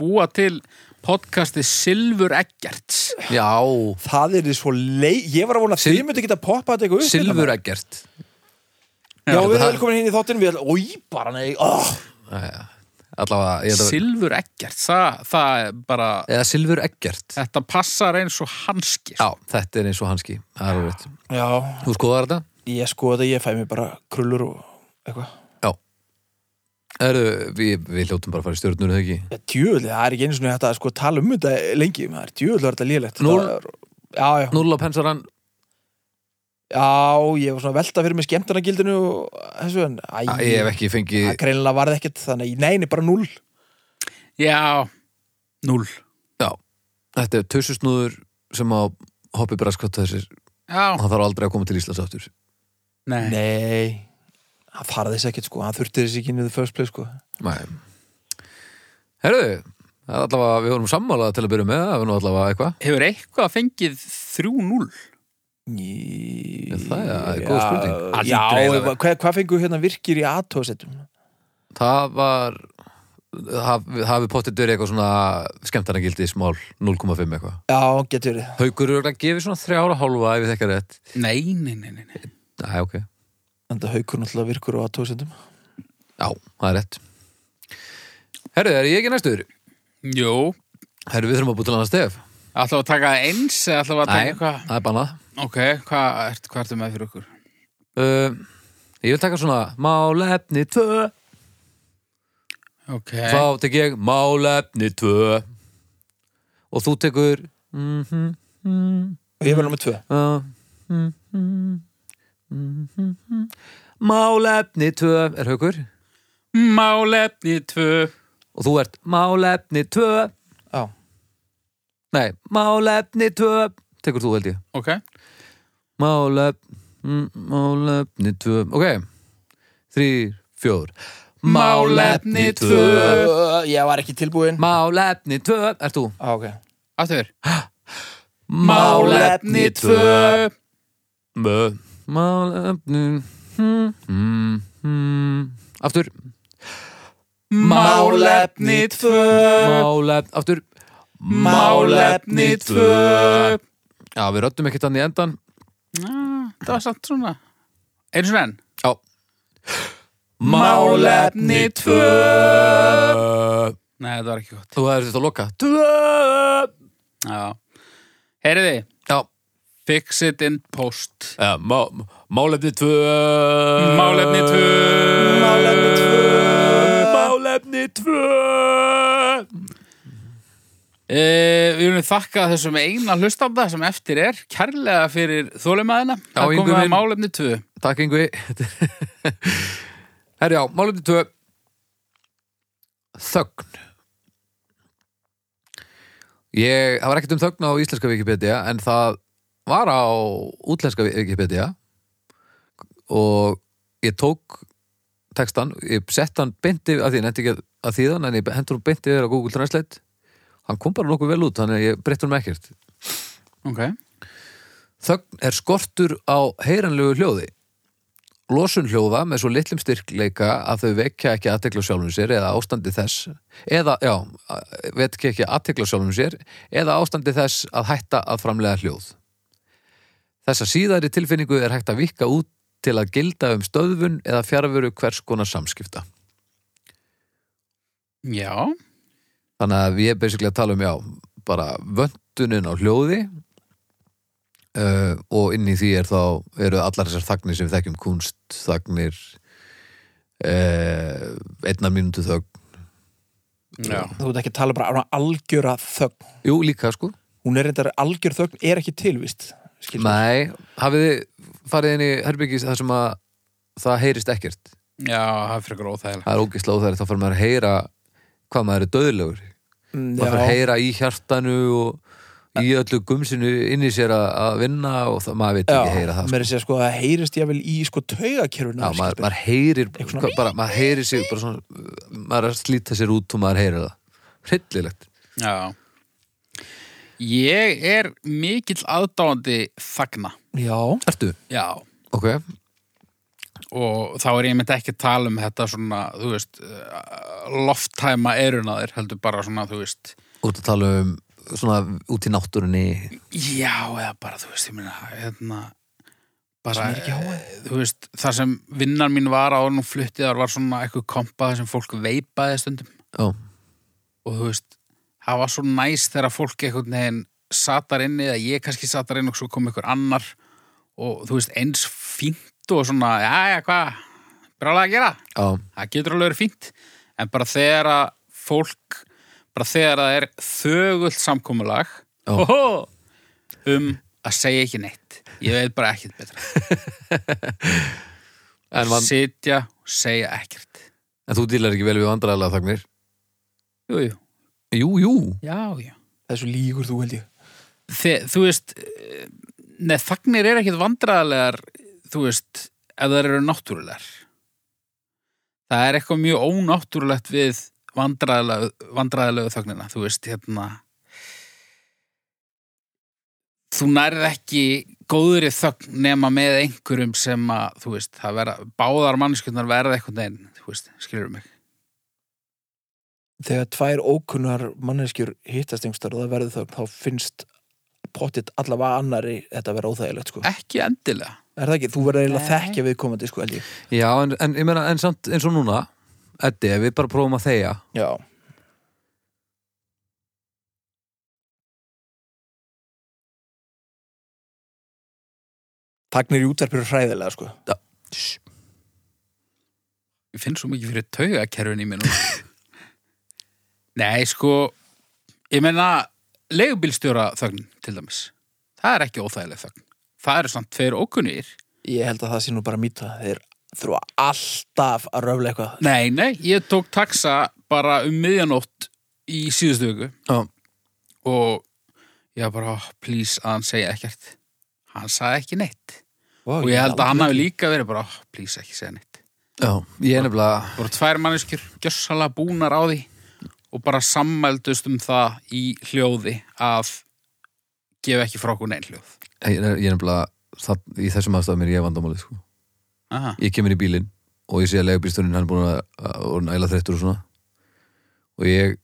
Speaker 3: búa til podcasti Silfur Eggerts.
Speaker 2: Já,
Speaker 1: Það er því svo leið. Ég var að vona að
Speaker 2: Sil-
Speaker 1: þið myndi geta poppað þetta eitthvað upp.
Speaker 2: Silfur Eggert
Speaker 1: hérna. Já, við
Speaker 2: það-
Speaker 1: erum velkomin hinn í þáttinn. Við erum, oi, bara nei. Oh.
Speaker 2: Allavega, ég ætla
Speaker 3: Silfur Eggerts, það, það er bara,
Speaker 2: Eða Silfur Eggert
Speaker 3: þetta passar eins og hanski.
Speaker 2: Já, þetta er eins og hanski Það er rétt
Speaker 1: Já,
Speaker 2: Þú skoðar þetta?
Speaker 1: ég sko þetta, ég fæ mér bara krullur og eitthvað.
Speaker 2: Já Eru, við, við hljótum bara að fara í stjórnur eða ekki
Speaker 1: Já, djöðli, það er ekki eins og þetta að sko tala um þetta lengi. maður. Djöfull var þetta lélegt.
Speaker 2: Núll.
Speaker 1: Þetta var- Já, já.
Speaker 2: Núll á pensaran
Speaker 1: Já, ég var svona að velta fyrir mig skemmtarnagildinu og þessu en æ,
Speaker 2: Ég hef ekki
Speaker 1: það
Speaker 2: fengið
Speaker 1: greinilega varð ekkert þannig, nei, nei, bara núl
Speaker 3: Já, Núll.
Speaker 2: Já, þetta er tussusnúður sem á hoppi braskott þessir
Speaker 3: Já.
Speaker 2: hann þarf aldrei að koma til Íslands aftur
Speaker 3: Nei.
Speaker 1: Nei, hann farði þess ekkert sko, hann þurfti þess ekki inn í the first place sko.
Speaker 2: Nei Herðu, það er allavega við vorum sammála til að byrja með, það var nú allavega eitthvað
Speaker 3: Hefur eitthvað fengið 3-0?
Speaker 1: Í...
Speaker 2: Já, það er- það er góð spurning.
Speaker 1: Já,
Speaker 3: Það hlýtur
Speaker 1: já
Speaker 3: eiginlega
Speaker 1: hvað, hvað fengu hérna virkir í aðtóðsettum?
Speaker 2: Það var það hafi pottið dörið eitthvað svona skemmtarnagildi smál 0,5 eitthvað
Speaker 1: Já, getur verið.
Speaker 2: Haukur eru að gefa svona þrjára hálfa ef við þekkar rétt
Speaker 3: Nei, nei, nei, nei. nei.
Speaker 2: Æ, ok,
Speaker 1: Enda haukur náttúrulega virkur á aðtóðsettum.
Speaker 2: já, það er rétt Herðu, er ég ekki næstur?
Speaker 3: Jó.
Speaker 2: Herðu, við þurfum að búið til annað stef
Speaker 3: Ætlaðu að taka það eins eða ætlaðu að taka
Speaker 2: Nei,
Speaker 3: eitthvað?
Speaker 2: það er bannað
Speaker 3: Ok, hvað ert, hvað ertu með fyrir okkur?
Speaker 2: uh, Ég vil taka svona Málefni 2
Speaker 3: Ok,
Speaker 2: Þá tek ég Málefni 2 Og þú tekur mm -hmm,
Speaker 1: Ég verður með tvö.
Speaker 2: uh, mm -hmm, mm -hmm. Málefni 2 er haukur
Speaker 3: málefni tvö
Speaker 2: Og þú ert Málefni 2
Speaker 1: Já.
Speaker 2: Nei, Málefni 2 Tekur þú held ég
Speaker 3: Ok,
Speaker 2: Málefni, málefni 2 Ok, 3, 4
Speaker 3: Málefni tvö.
Speaker 1: Ö, Ég var ekki tilbúin.
Speaker 2: Málefni 2 Er þú?
Speaker 1: Á, Ah, ok.
Speaker 3: aftur
Speaker 1: Málefni
Speaker 2: tvö. Mö. Málefni hmm, hmm, hmm. Aftur
Speaker 3: Málefni tvö
Speaker 2: Málefni Aftur
Speaker 1: Málefni
Speaker 3: tvö
Speaker 2: Já, við röddum ekkert hann í endan
Speaker 3: Það var samt svona Eins og enn
Speaker 2: Já
Speaker 3: Málefni tvö. Nei, það var ekki gott
Speaker 2: Þú hefðir þetta að loka Tvö
Speaker 3: Já Heyriði,
Speaker 2: Já,
Speaker 3: fix it in post
Speaker 2: já má, Málefni tvö
Speaker 3: Málefni tvö
Speaker 1: Málefni tvö.
Speaker 2: Málefni tvö
Speaker 3: Eh, Við viljum þakka þessum eina hlustanda sem eftir er kærlega fyrir þólumæðina Það
Speaker 2: Ingu
Speaker 3: komið að
Speaker 2: minn.
Speaker 3: málefni tvö
Speaker 2: Takk Yngvi Herjá, málefni 2 Þögn Ég, það var ekkert um þögn á íslenska Wikipedia en það var á útlenska Wikipedia og ég tók textan, ég sett hann beinti að því, ég nefndi ekki að þýðan en ég hendur hann beinti yfir á Google Translate hann kom bara nokkuð vel út, þannig að ég breytti hann ekkert
Speaker 3: Ok
Speaker 2: Þögn er skortur á heyranlegu hljóði. Losun hljóða með svo litlum styrkleika að þau vekja ekki aðtekla sjálfum sér eða ástandi þess eða, já, vekja ekki aðtekla sjálfum sér eða ástandi þess að hætta að framlega hljóð. Þessa síðari tilfinningu er hægt að vika út til að gilda um stöðvun eða fjarveru hvers konar samskipta.
Speaker 3: Já
Speaker 2: Þannig að við erum basically að tala um, já, bara vöndunin á hljóði uh, og inn í því er þá eru allar þessar þagnir sem við þekkjum kunst, þagnir, uh, einnar mínútu þögn.
Speaker 3: Já
Speaker 1: Þú veit ekki að tala bara um algjöra þögn.
Speaker 2: Jú, líka sko.
Speaker 1: Hún er reyndar algjör þögn, er ekki tilvist. Skilur.
Speaker 2: Nei, hafið þið farið inn í herbyggis þar sem að það heyrist ekkert.
Speaker 3: Já, það er frekar óþægilega
Speaker 2: Það er ógislega óþæri, þá fyrir maður að heyra hvað maður er döðlegur.
Speaker 1: Mm,
Speaker 2: maður
Speaker 1: já.
Speaker 2: fyrir að heyra í hjartanu og í öllu gumsinu inn í sér að, að vinna og það, maður veit ekki heyra það. sko.
Speaker 1: mér er að segja sko að heyrist ég vel í sko taugakerfinu
Speaker 2: Já, maður, maður heyrir
Speaker 1: Eitthvað svona-
Speaker 2: hvað, bara, maður heyrir sig bara svona, uh, maður er að slíta sér út og maður heyrir það hryllilegt
Speaker 3: Já Ég er mikill aðdáandi þagna
Speaker 1: Já,
Speaker 2: Ertu?
Speaker 3: Já
Speaker 2: Ok,
Speaker 3: Og þá er ég myndi ekki að tala um þetta svona, þú veist, eh, lofttæma erunaðir, heldur bara svona, þú veist,
Speaker 2: út að tala um svona út í náttúrunni
Speaker 3: já, eða bara, þú veist, ég minna, hérna, bara,
Speaker 1: sem er ekki háið
Speaker 3: eh, þú veist, það sem vinnan mín var á hún fluttið, þar var svona eitthvað kompað sem fólk veipaði stundum
Speaker 2: Já,
Speaker 3: og þú veist, það var svo næs þegar fólk einhvern veginn satar inn eða ég kannski satar inn og svo kom einhver annar og þú veist, eins fínt og svona, já, já, hvað, brálega að gera?
Speaker 2: já,
Speaker 3: það getur alveg verið fínt en bara þegar að fólk bara þegar það er þögult samkomulag
Speaker 2: Já.
Speaker 3: oho, um að segja ekki neitt ég veit bara ekkert betra
Speaker 2: [laughs] en, van,
Speaker 3: sitja og segja ekkert
Speaker 2: en þú dýlar ekki vel við vandræðlega þagnir
Speaker 3: jú, jú.
Speaker 2: Jú, jú,
Speaker 3: Já, já.
Speaker 1: Þessu lígur þú held ég.
Speaker 3: Þe, þú veist, eh, neð, þagnir er ekkit vandræðalegar, þú veist, ef þær eru náttúrulegar. Það er eitthvað mjög ónáttúrulegt við vandræðalegu, vandræðalegu þagnina, þú veist, hérna. Þú nærð ekki góðri þögn nema með einhverjum sem að, þú veist, það vera, báðar mannskjöndar verða eitthvað neginn, þú veist, skilur mig.
Speaker 1: Þegar tvær ókunnar manneskjur hittast einhverstaðar og það verður þögn, þá finnst pottitt allavega annari þetta að vera óþægilegt, sko.
Speaker 3: Ekki endilega.
Speaker 1: Er það ekki? Þú verður eiginlega að
Speaker 3: Nei.
Speaker 1: þekkja viðkomandi, sko, held ég.
Speaker 2: já, en, en, ég meina, en samt eins og núna Eddi, ef við bara prófum að þegja
Speaker 1: Já. Tagnir í útverfið eru hræðilega, sko.
Speaker 3: ég finn svo mikið fyrir taugakerfin í mér [laughs] núna. Nei, sko, ég meina, leigubílstjóra þögn til dæmis. Það er ekki óþægileg þögn. Það eru samt tveir ókunnir.
Speaker 1: Ég held að það sé nú bara mýta. Þeir þurfa alltaf að röfla eitthvað.
Speaker 3: Nei, nei, ég tók taxa bara um miðjanótt í síðustu viku
Speaker 2: Já,
Speaker 3: og ég var bara, oh, please, að hann segja ekkert. Hann sagði ekki neitt.
Speaker 1: Vá,
Speaker 3: Og ég held að hann hafi
Speaker 1: aldrei-
Speaker 3: líka verið bara, oh, please, ekki segja neitt.
Speaker 2: já, ég er nefnilega
Speaker 3: Það voru tvær manneskjur gjössalega búnar á því og bara sammældust um það í hljóði að gefa ekki frá okkur neinn hljóð.
Speaker 2: Ég er, ég er nefnilega, það, í þessum aðstæðum er ég vandamálið sko.
Speaker 3: Aha.
Speaker 2: Ég kemur í bílinn og ég sé að legubílsturinn hann er búin að, að orðin æla þreyttur og svona og ég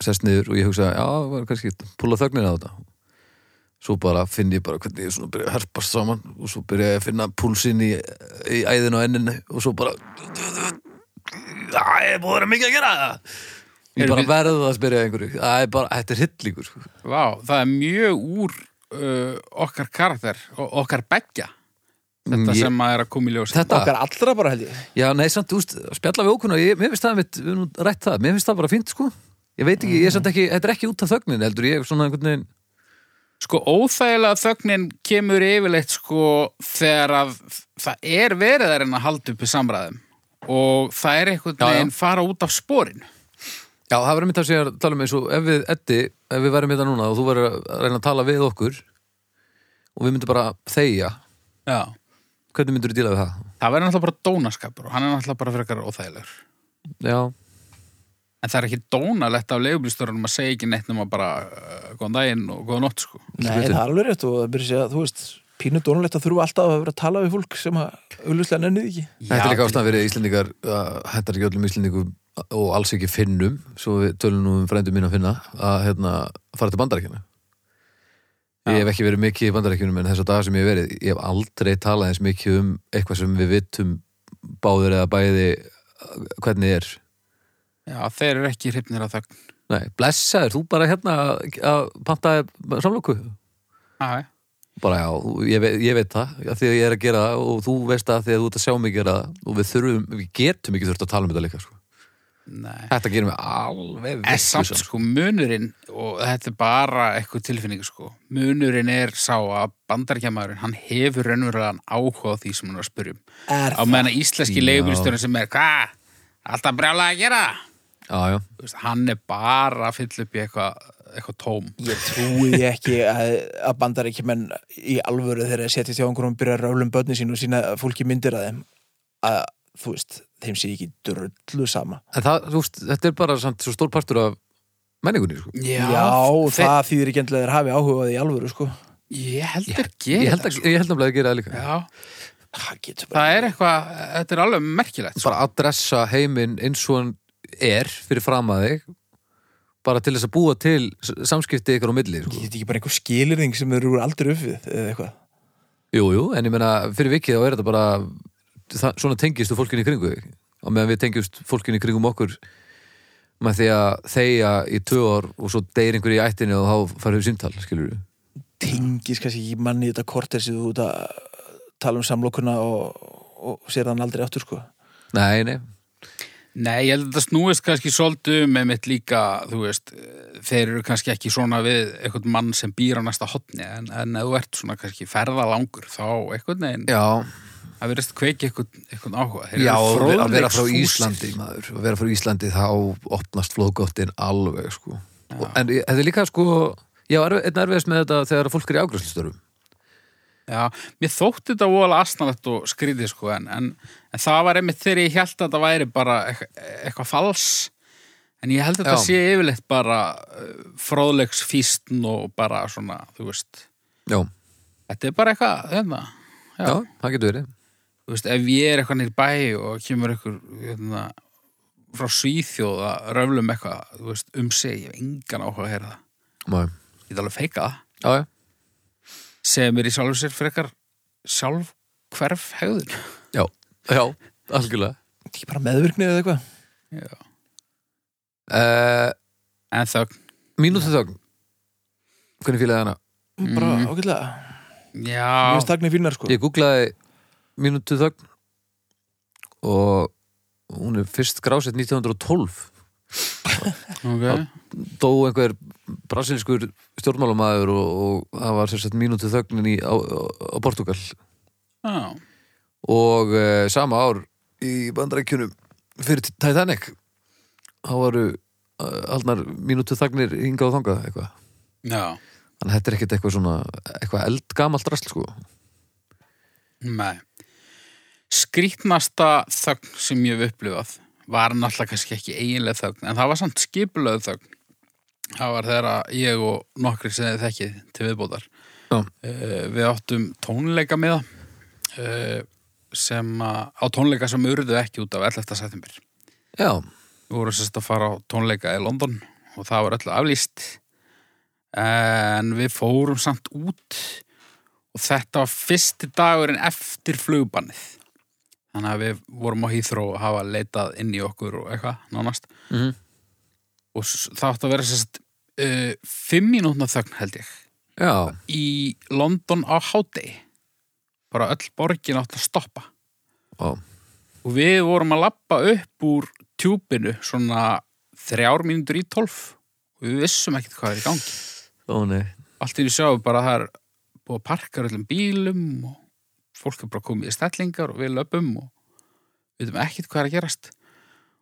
Speaker 2: sest niður og ég hugsa, já, var kannski púla þögnina á þetta svo bara finn ég bara hvernig ég svona byrja að herpast saman og svo byrja ég að finna púlsinn í, í æðin og ennin og svo bara Það er búin að vera mikið að gera það Ég
Speaker 3: Erum
Speaker 2: bara
Speaker 3: við-
Speaker 2: verða að spyrja einhverju Það er bara, þetta er hryllíkur sko.
Speaker 3: Vá, það er mjög úr uh, okkar karakter og okkar begja þetta
Speaker 2: Ég-
Speaker 3: sem að er að koma í ljós.
Speaker 2: Þetta,
Speaker 1: Okkar allra bara held ég.
Speaker 2: Já, nei, samt, úst, spjalla við ókunna, ég, mér finnst það mitt, við erum nú rætt það, mér finnst það bara fínt, sko. Ég veit ekki, ég er samt ekki, þetta er ekki út af þögnin, heldur ég, svona einhvern veginn,
Speaker 3: Sko óþægilega þögnin kemur yfirleitt sko þegar að það er verið að reyna að halda upp í samræðum og það er einhvern
Speaker 2: Já, já.
Speaker 3: veginn fara út af sporinu.
Speaker 2: já, það verður mitt að segja, tala um eins og ef við, Eddi, ef við verðum þetta núna og þú verður að reyna að tala við okkur og við myndum bara þegja,
Speaker 3: Já.
Speaker 2: hvernig myndur þú díla við það?
Speaker 3: Það verður náttúrulega bara dónaskapur og hann er náttúrulega bara frekar óþægilegur.
Speaker 2: Já,
Speaker 3: En það er ekki dónalegt af leigubilstörunum að segja ekki neitt nema bara uh, góðan daginn og góðan nótt sko.
Speaker 1: Nei, það er alveg rétt og það byrja að segja, þú veist, pínu dónulegt að þurfa alltaf að vera að tala við fólk sem að auðvitað nennið ekki.
Speaker 2: þetta er líka
Speaker 3: til-
Speaker 2: ástæðan fyrir Íslendingar, uh, þetta er ekki öllum Íslendingum og alls ekki finnum, svo við tölum nú um frændum mín að finna, að hérna, fara til bandarækjana. Ég hef ekki verið mikið í bandarækjunum en þess að dag sem ég hef verið, ég hef aldrei talað eins mikið um eitthvað sem við vittum báður eða bæði uh, hvernig er.
Speaker 3: Já, þeir eru ekki hrifnir að þögn.
Speaker 2: Nei, blessaður, þú bara hérna að- að pantaði samlóku.
Speaker 3: Já,
Speaker 2: Bara já, ég veit, ég veit það, af því að ég er að gera það og þú veist það af því að þú ert að sjá mig gera það og við þurfum, við getum ekki þurft að tala um þetta líka, sko.
Speaker 3: nei.
Speaker 2: Þetta gerum við alveg
Speaker 3: En samt
Speaker 2: vitlausan.
Speaker 3: sko munurinn, og þetta er bara eitthvað tilfinning sko, munurinn er sá að bandarkjamaðurinn, hann hefur raunverulegan áhuga á því sem hann er að spyrjum.
Speaker 1: Er
Speaker 3: Á meðan að íslenski
Speaker 2: Já.
Speaker 3: leigubilstörun sem er, hvað, alltaf brjálega að gera?
Speaker 2: Já, já.
Speaker 3: Þú Veist, hann er bara að fylla upp í eitthvað eitthva tóm.
Speaker 1: Ég trúi því ekki að, að bandar ekki menn í alvöru þegar þeir setjast hjá einhverjum og byrja að rála um börni sín og sína fólki myndir að þeim að þú veist, þeim sé ekki drullu sama.
Speaker 2: En það, þú veist, þetta er bara samt svo stór partur af menningunni, sko.
Speaker 1: Já,
Speaker 3: þeir-
Speaker 1: það þýðir ekki endilega að þeir hafi áhuga á því í alvöru, sko.
Speaker 3: Ég held
Speaker 2: Ég,
Speaker 3: þeir sko. gera.
Speaker 2: held að, ég held að bleiði að gera það líka.
Speaker 3: Já,
Speaker 1: Það getur bara.
Speaker 3: það er eitthvað, þetta er alveg merkilegt. Sko.
Speaker 2: bara adressa heiminn eins og hann er fyrir fram að þig bara til þess að búa til s- samskipti ykkur á milli sko.
Speaker 1: Ég get ekki bara einhver skilirðing sem þeir eru aldrei upp við eða eitthvað.
Speaker 2: Jú, jú, en ég meina fyrir vikið þá er þetta bara það, svona tengist þú fólkinu í kringu þig og meðan við tengjumst fólkinu í kringum okkur með því að þeia í tvö ár og svo deyr einhverju í ættinni og þá farið við símtal, skilur við
Speaker 1: Tengis kannski ekki manni í þetta korter sem þú út að tala um samlokuna og, og sér þann aldrei aftur, sko.
Speaker 2: Nei, nei,
Speaker 3: Nei, ég held að þetta snúist kannski svolítið um með mitt líka, þú veist, eh, þeir eru kannski ekki svona við einhvern mann sem býr á næsta hotni, en, en ef þú ert svona kannski ferðalangur, þá einhvern veginn
Speaker 2: já
Speaker 3: að verðist kveiki eitthvað, eitthvað áhuga Þeir
Speaker 2: Já,
Speaker 3: eru
Speaker 2: að vera- að vera frá
Speaker 3: fróðleiksfúsir.
Speaker 2: Íslandi maður, að vera frá Íslandi þá opnast flóðgottin alveg sko. Og, en ég- þetta er líka sko já, einn erfiðast með þetta þegar fólk er í ágræslustörfum
Speaker 3: Já, mér þótti þetta voðalega asnalegt og skrítið sko en, en, en það var einmitt þegar ég held að þetta væri bara eitthvað, eitthvað fals en ég held að þetta
Speaker 2: Já.
Speaker 3: sé yfirleitt bara uh, fróðlegs fístn og bara svona, þú veist
Speaker 2: já,
Speaker 3: þetta er bara eitthvað, hérna
Speaker 2: já, það getur verið
Speaker 3: þú veist, ef ég er eitthvað nýr bæ og kemur eitthvað hérna, frá Svíþjóð að röflum eitthvað þú veist, um sig, ég hef engan áhuga að heyra það
Speaker 2: Má,
Speaker 3: ég get alveg feika það,
Speaker 2: já, já,
Speaker 3: sem er í sjálfu sér fyrir eitthvað sjálf hverf hegðun
Speaker 2: já, já, algjörlega
Speaker 1: Þetta er ekki bara meðvirkni eða eitthvað
Speaker 3: Já.
Speaker 2: uh,
Speaker 3: en þögn
Speaker 2: mínútu þögn hvernig fílaði hana?
Speaker 1: Bara
Speaker 3: Mm.
Speaker 1: ágætlega
Speaker 3: Já,
Speaker 1: Mjög stakni fínar sko
Speaker 2: Ég googlaði mínútu þögn og hún er fyrst grásett 1912
Speaker 3: ok
Speaker 2: dó einhver brasiliskur stjórnmálamæður og, og það var sérstaklega mínútu þögnin í, á, á Portugal
Speaker 3: Já,
Speaker 2: og e, sama ár í bandarækjunum fyrir Titanic þá varu e, aldnar mínútu þögnir hingað og þangað eitthvað
Speaker 3: já,
Speaker 2: þannig að þetta er ekkert eitthvað svona eitthvað eldgamalt rast sko
Speaker 3: nei Skrítnasta þögn sem ég hef upplifað var náttúrulega kannski ekki eiginlega þögn en það var samt skipulöð þögn það var þegar að ég og nokkri sem þið þekkið til viðbótar
Speaker 2: Já.
Speaker 3: uh, við áttum tónleika með uh, sem að á tónleika sem urðu ekki út af 11. september
Speaker 2: já,
Speaker 3: Við vorum sérst að fara á tónleika í London og það var öllu aflýst en við fórum samt út og þetta var fyrsti dagurinn eftir flugbannið þannig að við vorum á Heathrow og hafa leitað inn í okkur og eitthvað nánast
Speaker 2: Mhm.
Speaker 3: og s- það átti að vera sérst uh, fimm mínútna þögn held ég
Speaker 2: já,
Speaker 3: í London á hádegi bara öll borgin átti að stoppa
Speaker 2: já,
Speaker 3: og við vorum að lappa upp úr tjúpinu svona þrjár mínútur í tólf og við vissum ekkert hvað er í gangi
Speaker 2: ó nei
Speaker 3: allt í því sjáum við bara að það er búið að parka öllum bílum og fólk er bara komið í stellingar og við löpum og við veitum ekkert hvað er að gerast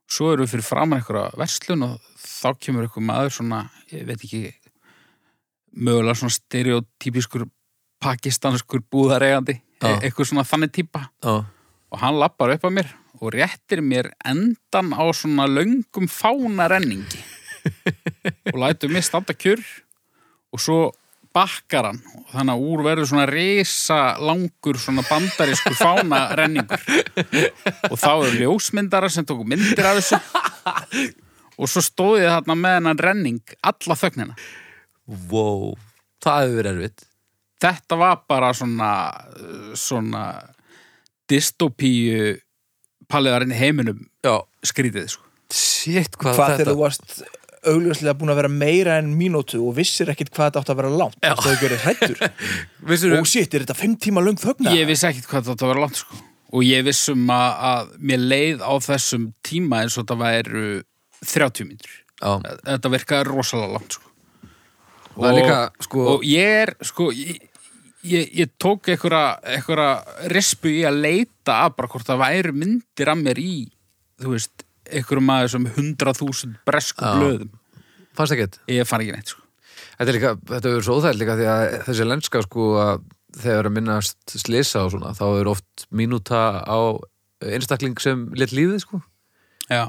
Speaker 3: svo erum við fyrir framan einhverja verslun og þá kemur einhver maður svona, ég veit ekki mögulega svona stereotypískur pakistanskur búðaregandi
Speaker 2: Já.
Speaker 3: eitthvað svona þannig típa
Speaker 2: já,
Speaker 3: og hann lappar upp að mér og réttir mér endan á svona löngum fánarenningi og lætur mér standa kjur og svo bakkar hann og þannig að úr verður svona risa langur svona bandarísku fánarenningur og þá eru ljósmyndara sem tóku myndir af þessu og svo stóði ég þarna með hennan renning alla þögnina
Speaker 2: wow það hefur verið erfitt
Speaker 3: þetta var bara svona svona dystopíu palliðarinn í heiminum
Speaker 2: já,
Speaker 3: skrítið sko.
Speaker 2: shit hvað,
Speaker 1: Hvað þegar
Speaker 2: þetta
Speaker 1: þú varst augljóslega búin að vera meira en mínútu og vissir ekkit hvað þetta átt að vera langt
Speaker 2: Já.
Speaker 1: Þú hefur gerðið hrættur
Speaker 2: [laughs] Vissirðu-
Speaker 1: Og shit, er þetta fimm tíma löng þögna?
Speaker 3: ég vissi ekkit hvað þetta var langt sko. og ég vissum að, að mér leið á þessum tíma eins og þetta væru 30 mínútur
Speaker 2: já,
Speaker 3: þetta virkaði rosalega langt sko.
Speaker 2: það er líka sko,
Speaker 3: og ég er sko ég, ég, ég tók einhverja, einhverja rispu í að leita að bara hvort það væru myndir af mér í þú veist, einhverjum aðeins um 100.000 bresku
Speaker 2: Já.
Speaker 3: blöðum
Speaker 2: fannst ekki þetta
Speaker 3: ég fann ekki neitt sko.
Speaker 2: Þetta er líka, þetta verður svo óþægt líka því að þessi lenska sko að þegar er að minnast slisa og svona, þá er oft mínúta á einstakling sem létt lífið sko.
Speaker 3: já,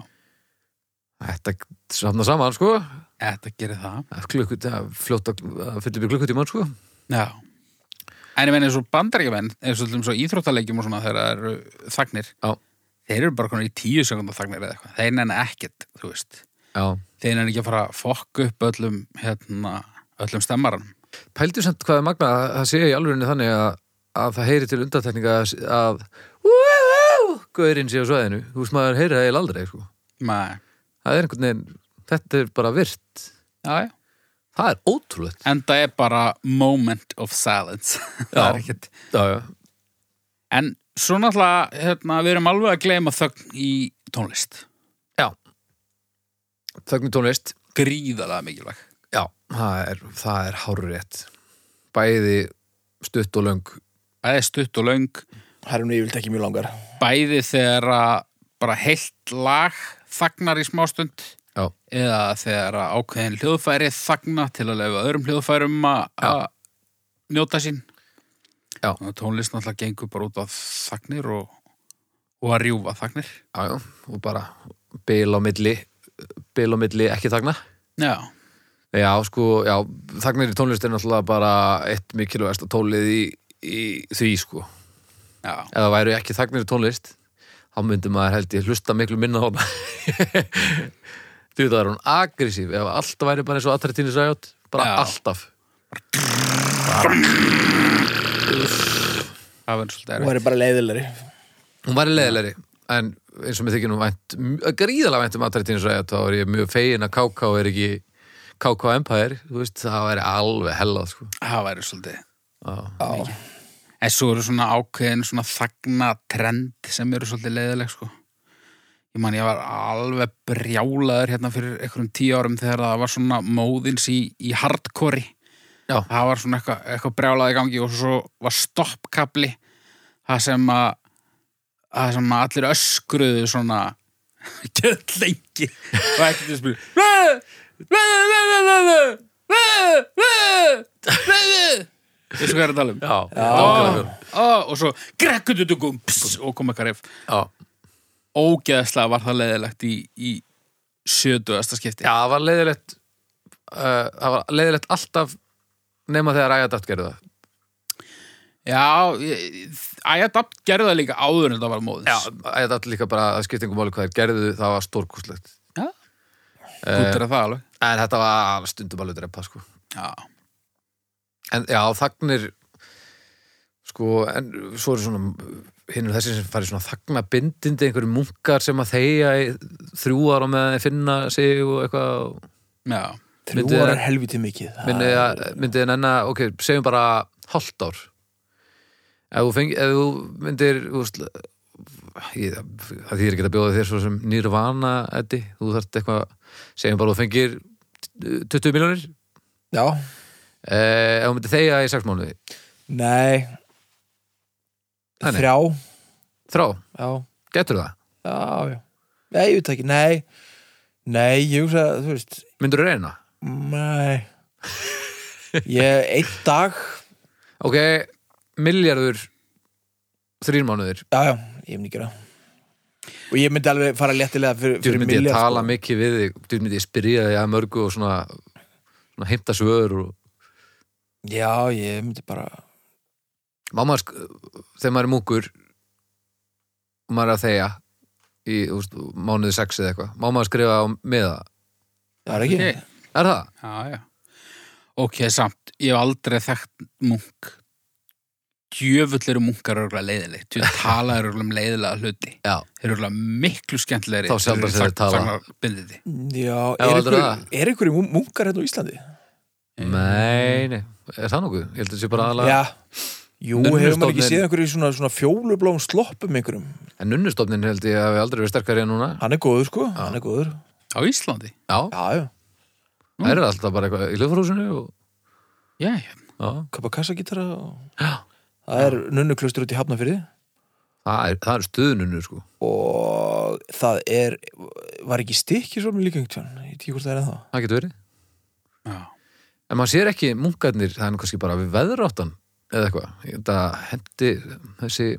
Speaker 2: Þetta samna saman sko,
Speaker 3: þetta gerir það
Speaker 2: klukkut, fljótt að að fylla upp í klukkutíman sko.
Speaker 3: Já En ég meina eins og bandaríkjamenn eins og, eins og íþróttaleikjum og svona þegar það eru þagnir
Speaker 2: Já.
Speaker 3: Þeir eru bara konar í tíu sekundar þagnir eða eitthvað Þeir nenni ekkert, þú veist
Speaker 2: Já.
Speaker 3: Þeir nenni ekki að fara að fokka upp öllum hérna, öllum stemmaran
Speaker 2: Pældu samt hvað er magna að það sé í alvegurinu þannig að, að það heyri til undartekninga að, að "Woo-hoo!" gaurinn sé á svæðinu. Þú veist maður heyri það eiginlega aldrei sko.
Speaker 3: Nei,
Speaker 2: Það er einhvern veginn, þetta er bara virt.
Speaker 3: já, já
Speaker 2: Það er ótrúlegt.
Speaker 3: En það er bara moment of silence [laughs] Það
Speaker 2: Já.
Speaker 3: er ekkert
Speaker 2: Já, já.
Speaker 3: En svo náttúrulega, hérna, við erum alveg að gleyma þögn í tónlist
Speaker 2: Þögnum tónlist.
Speaker 3: Gríðalega mikilvæg
Speaker 2: Já, það er, það er hárrétt. Bæði stutt og löng.
Speaker 3: Það er stutt og löng
Speaker 1: það eru nú yfirleitt ekki mjög langar
Speaker 3: bæði þegar að bara heilt lag þagnar í smástund
Speaker 2: Já.
Speaker 3: eða þegar að ákveðin hljóðfæri þagna til að lefa öðrum hljóðfærum að- að njóta sín
Speaker 2: Já.
Speaker 3: og tónlist náttúrulega gengur bara út á þagnir og, og að rjúfa þagnir
Speaker 2: já, já, og bara bil á milli bil á milli ekki þagna
Speaker 3: Já,
Speaker 2: já, sko, já, þagnir í tónlist er náttúrulega bara eitt mikilvægasta tólið í, í því, sko
Speaker 3: já,
Speaker 2: ef það væru ekki þagnir í tónlist þá myndi maður held ég hlusta miklu minna á hana [laughs] þú veit það er hún agressív ef allt væri bara eins og attraktíni sæjótt bara
Speaker 3: Já.
Speaker 2: alltaf
Speaker 3: það verður
Speaker 1: og
Speaker 3: svolítið erfitt
Speaker 1: það eru bara leiðilegri
Speaker 2: hún væri leiðilegri en eins og mér þykir nú vænt m- gríðalega vænt um attraktíni sæjótt þá er ég mjög fegin að KK er ekki KK Empire, þú veist, það væri alveg hellað sko.
Speaker 3: Það verður svolítið
Speaker 2: Já.
Speaker 1: já,
Speaker 3: En svo eru svona ákveðin svona þagnatrend sem eru svolítið leiðileg sko. Ég man ég var alveg brjálaður hérna fyrir einhverjum tíu árum þegar það var svona móðins í, í hardkori.
Speaker 2: Já.
Speaker 3: Það var svona eitthvað, eitthvað brjálað í gangi og svo var stoppkabli það sem að það sem að allir öskruðu svona gett lengi og ekkert þess að spila Þessu hvað er að tala um?
Speaker 2: Já,
Speaker 3: Ó,
Speaker 2: nákvæmlega.
Speaker 3: ó, og svo grekkututukum og kom eitthvað reyf
Speaker 2: já,
Speaker 3: ógeðslega var það leiðilegt í, í sjötuðasta skipti
Speaker 2: já, það var leiðilegt uh, það var leiðilegt alltaf nema þegar Æja Datt gerði það
Speaker 3: já ég- Æjadapt gerði það líka áður en það var móðins
Speaker 2: Já, þetta er líka bara að skiptingum máli hvað þeir gerðu, það var stórkúslegt.
Speaker 3: já. Kútur
Speaker 2: Eh.
Speaker 3: að það alveg
Speaker 2: En þetta var stundum alveg drepa, sko.
Speaker 3: já,
Speaker 2: En já, þagnir, sko, en svo eru svona, hinn er þessi sem farið svona þagnabindindi, einhverjum munkar sem að þeia í þrjú ára með að finna sig og eitthvað. og
Speaker 3: já,
Speaker 1: þrjú
Speaker 2: Myndi-
Speaker 1: ára er helviti mikið Það
Speaker 2: Myndið
Speaker 1: er-
Speaker 2: að, myndið en enna, ok, segjum bara hálft ár. Ef þú, fengi, ef þú myndir, þú veist, ég, það þýr ekki að bjóða þér svo sem nýrvana, Eddi, þú þarft eitthvað, segjum bara þú fengir 20 miljónir,
Speaker 1: já,
Speaker 2: eh, ef þú myndir þegja í 6 mánuði.
Speaker 1: nei
Speaker 2: Nei, nei.
Speaker 1: þrjá
Speaker 2: Þrá,
Speaker 1: já,
Speaker 2: getur það?
Speaker 1: já, já nei, ég veit það ekki, nei nei, ég hugsa, þú veist
Speaker 2: Myndur þú reyna? [laughs]
Speaker 1: nei ég, einn dag
Speaker 2: Ok, miljardur, 3 mánuðir.
Speaker 1: já, já, ég myndi gera það. og ég myndi alveg fara léttilega fyrir,
Speaker 2: Þú
Speaker 1: fyrir
Speaker 2: myndi ég
Speaker 1: milljarð,
Speaker 2: tala
Speaker 1: sko.
Speaker 2: mikið við þig, þú myndi ég spyrja þig að mörgu og svona, svona heimta svör og
Speaker 1: já, ég myndi bara
Speaker 2: mamma, sk- þegar maður er múkur og maður er að þegja í úst, mánuði sex eða eitthvað má maður skrifa á miða
Speaker 1: það er ekki,
Speaker 3: Ok.
Speaker 2: er það?
Speaker 3: já, já ok, samt, ég hef aldrei þekkt munk djöfullir munkar eru leiðileg þú
Speaker 2: [laughs]
Speaker 3: talaður eru um leiðilega hluti
Speaker 2: Já,
Speaker 3: þeir eru örugglega miklu skemmtilegri
Speaker 2: Þá sjaldan sem þeir tala.
Speaker 3: bindið því
Speaker 1: Mm, já,
Speaker 2: Já,
Speaker 1: er
Speaker 2: heldur
Speaker 1: einhver,
Speaker 2: það?
Speaker 1: er einhverjum mun- munkar hérna á Íslandi?
Speaker 2: nei, nei, er það nokkuð? Ég held að það sé bara aðalega
Speaker 1: Mm. Já, jú, hefur maður ekki
Speaker 2: Nunnustofninn.
Speaker 1: séð einhverju svona, svona fjólublóm sloppum einhverjum
Speaker 2: En nunnustofnin held ég að við aldrei verið sterkari en núna
Speaker 1: Hann er góður sko, hann er góður
Speaker 3: á Íslandi
Speaker 2: Já,
Speaker 1: Já, já, Mm.
Speaker 2: það eru alltaf bara eitthvað í hljóðfórhúsinu og,
Speaker 3: já, já
Speaker 2: já,
Speaker 1: kappa kassagítara og...
Speaker 2: já
Speaker 1: Það er nunnuklaustur út í Hafnafyrði
Speaker 2: Það er, það er stuðnunnu sko
Speaker 1: og það er var ekki stikki svona líka einhvern tjón ég tíkur það er ennþá
Speaker 2: Það getur verið
Speaker 3: Já.
Speaker 2: En maður sér ekki munkarnir, það er nú kannski bara við veðráttan eða eitthvað Það hendi, þessi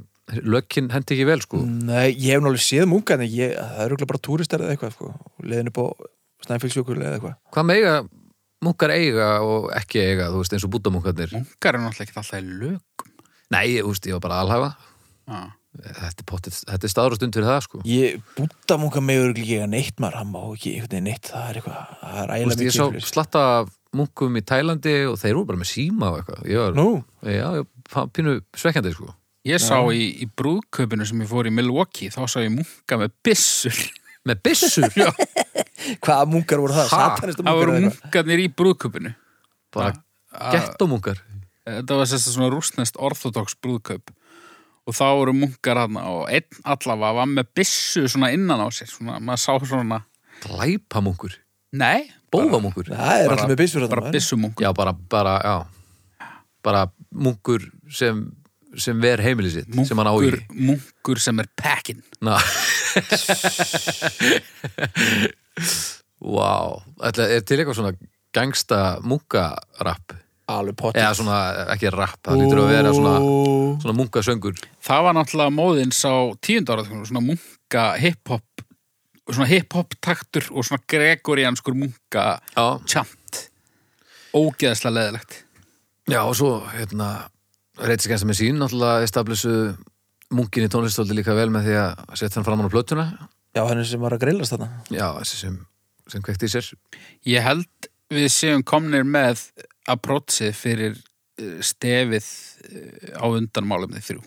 Speaker 2: lökin hendi ekki vel sko
Speaker 1: Nei, ég hef náttúrulega séð munga en ég, það er örugglega bara túristar eða eitthvað sko, leðin upp á Snæfellsjökul eða eitthvað
Speaker 2: hvað með eiga munkar eiga og ekki eiga, þú veist, eins og búddamunkarnir
Speaker 3: Munkar eru náttúrulega ekki alltaf í lögum.
Speaker 2: nei, ég, þú veist, ég var bara aðalhafa þetta er, pottet, þetta er staður og stund fyrir það, sko
Speaker 1: Ég búta munga með örugglega ekki að neitt maður, hann má ekki einhvern veginn neitt það er eitthvað, það er
Speaker 2: Þú
Speaker 1: ægilega
Speaker 2: veist, ég
Speaker 1: mikið
Speaker 2: sá
Speaker 1: fyrir.
Speaker 2: slatta af munkum í Tælandi og þeir eru bara með síma og eitthvað ég var,
Speaker 1: Nú,
Speaker 2: já, ég var pínu svekkjandi, sko
Speaker 3: Ég sá í, í brúðkaupinu sem ég fór í Milwaukee, þá sá ég munka með byssur.
Speaker 2: með
Speaker 1: [laughs]
Speaker 2: byssur, já,
Speaker 1: hvaða mungar voru það?
Speaker 2: Ha?
Speaker 3: [laughs]
Speaker 1: Satanista
Speaker 3: Það
Speaker 1: munkar
Speaker 3: voru
Speaker 1: eða eitthvað?
Speaker 3: munkarnir í brúðkaupinu. Eh,
Speaker 2: bara gettómunkar
Speaker 3: Þetta var sérst svona rúsnest orthodox brúðkaup. Og þá voru munkar hana og einn allavega var með byssu svona innan á sér. Svona, maður sá svona,
Speaker 2: glæpamunkur,
Speaker 3: nei,
Speaker 2: bófamunkur
Speaker 1: Það er
Speaker 3: Bara-
Speaker 1: alltaf með byssur þarna,
Speaker 3: bara
Speaker 1: maður.
Speaker 3: byssumunkur.
Speaker 2: já, bara, bara, já bara munkur sem sem ver heimili sitt sem hann á [laughs] í
Speaker 3: munkur, munkur sem er pekkin
Speaker 2: Ná. Vá, ætla, er til eitthvað svona gangsta munkarapp?
Speaker 1: Alveg potið.
Speaker 2: Eða svona, ekki rapp, það lítur að vera svona, svona munkasöngur.
Speaker 3: það var náttúrulega móðins á tíundar svona munka hip-hop svona hip-hop taktur og svona gregorianskur munka
Speaker 2: Já,
Speaker 3: chant ógeðslega leðilegt
Speaker 2: já og svo, hérna, reytiskens með sín, náttúrulega establissu munkin í tónlistóldi líka vel með því að setja hann fram á plötuna.
Speaker 1: Já, henni sem var að grillast þarna.
Speaker 2: Já, þessi sem, sem kvekti í sér.
Speaker 3: ég held við séum komnir með approachið fyrir eh, stefið eh, á undanmálum þið þrjú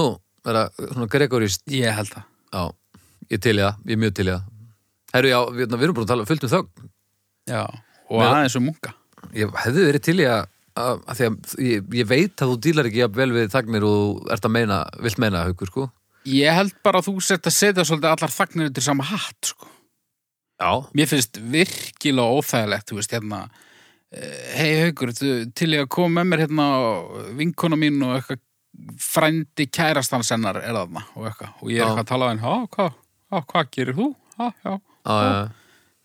Speaker 2: Nú, vera svona Gregorist,
Speaker 3: ég held það
Speaker 2: já, ég til í það, ég er mjög til í það. Herru, já, við, við erum búin að tala fullt um þögn.
Speaker 3: Já, og
Speaker 2: Með-
Speaker 3: aðeins um munka
Speaker 2: Ég hefði verið til í að, að, að því að ég, ég veit að þú dílar ekki jafn vel við þagnir og þú ert að meina, vilt meina haukur, sko.
Speaker 3: Ég held bara að þú sett að setja svolítið allar þagnir undir sama hatt, sko.
Speaker 2: Já.
Speaker 3: Mér finnst virkilega óþægilegt, þú veist, hérna, eh, hei haukur, þú- til ég að koma með mér hérna á vinkona mín og eitthvað frændi kærastans hennar er þarna og eitthvað. Og ég er
Speaker 2: Já.
Speaker 3: eitthvað að tala á henni, á, hvað, á, hvað gerir þú? Á,
Speaker 2: Já,
Speaker 3: já.
Speaker 2: já, já.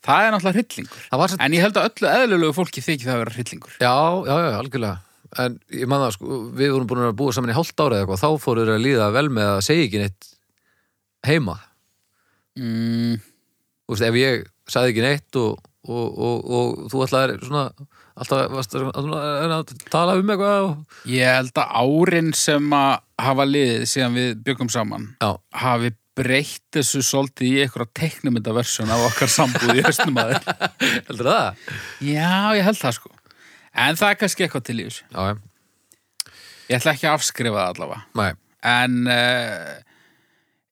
Speaker 3: Það er náttúrulega hryllingur.
Speaker 2: Það var satt,
Speaker 3: En ég held að öllu eðlulegu fólki þykir það að vera hryllingur.
Speaker 2: já, já, já, algjörlega. En ég man það, sko, við vorum búin að búa saman í hálft ára eða eitthvað, þá fóruður að líða vel með að segja ekki neitt heima.
Speaker 3: Mm,
Speaker 2: Þú veist, ef ég sagði ekki neitt og, og, og, og þú ætlaðir svona, alltaf varst að, að, að, að tala um eitthvað og,
Speaker 3: ég held að árin sem að hafa liðið síðan við byggum saman
Speaker 2: já,
Speaker 3: hafi breytt þessu svolítið í einhverja teknumyndaversjón af okkar sambúð í höstum aður.
Speaker 2: heldur það?
Speaker 3: Já, ég held það sko. En það er kannski eitthvað til í þessu.
Speaker 2: Já, já,
Speaker 3: Ég ætla ekki að afskrifa það allavega.
Speaker 2: næ,
Speaker 3: En uh,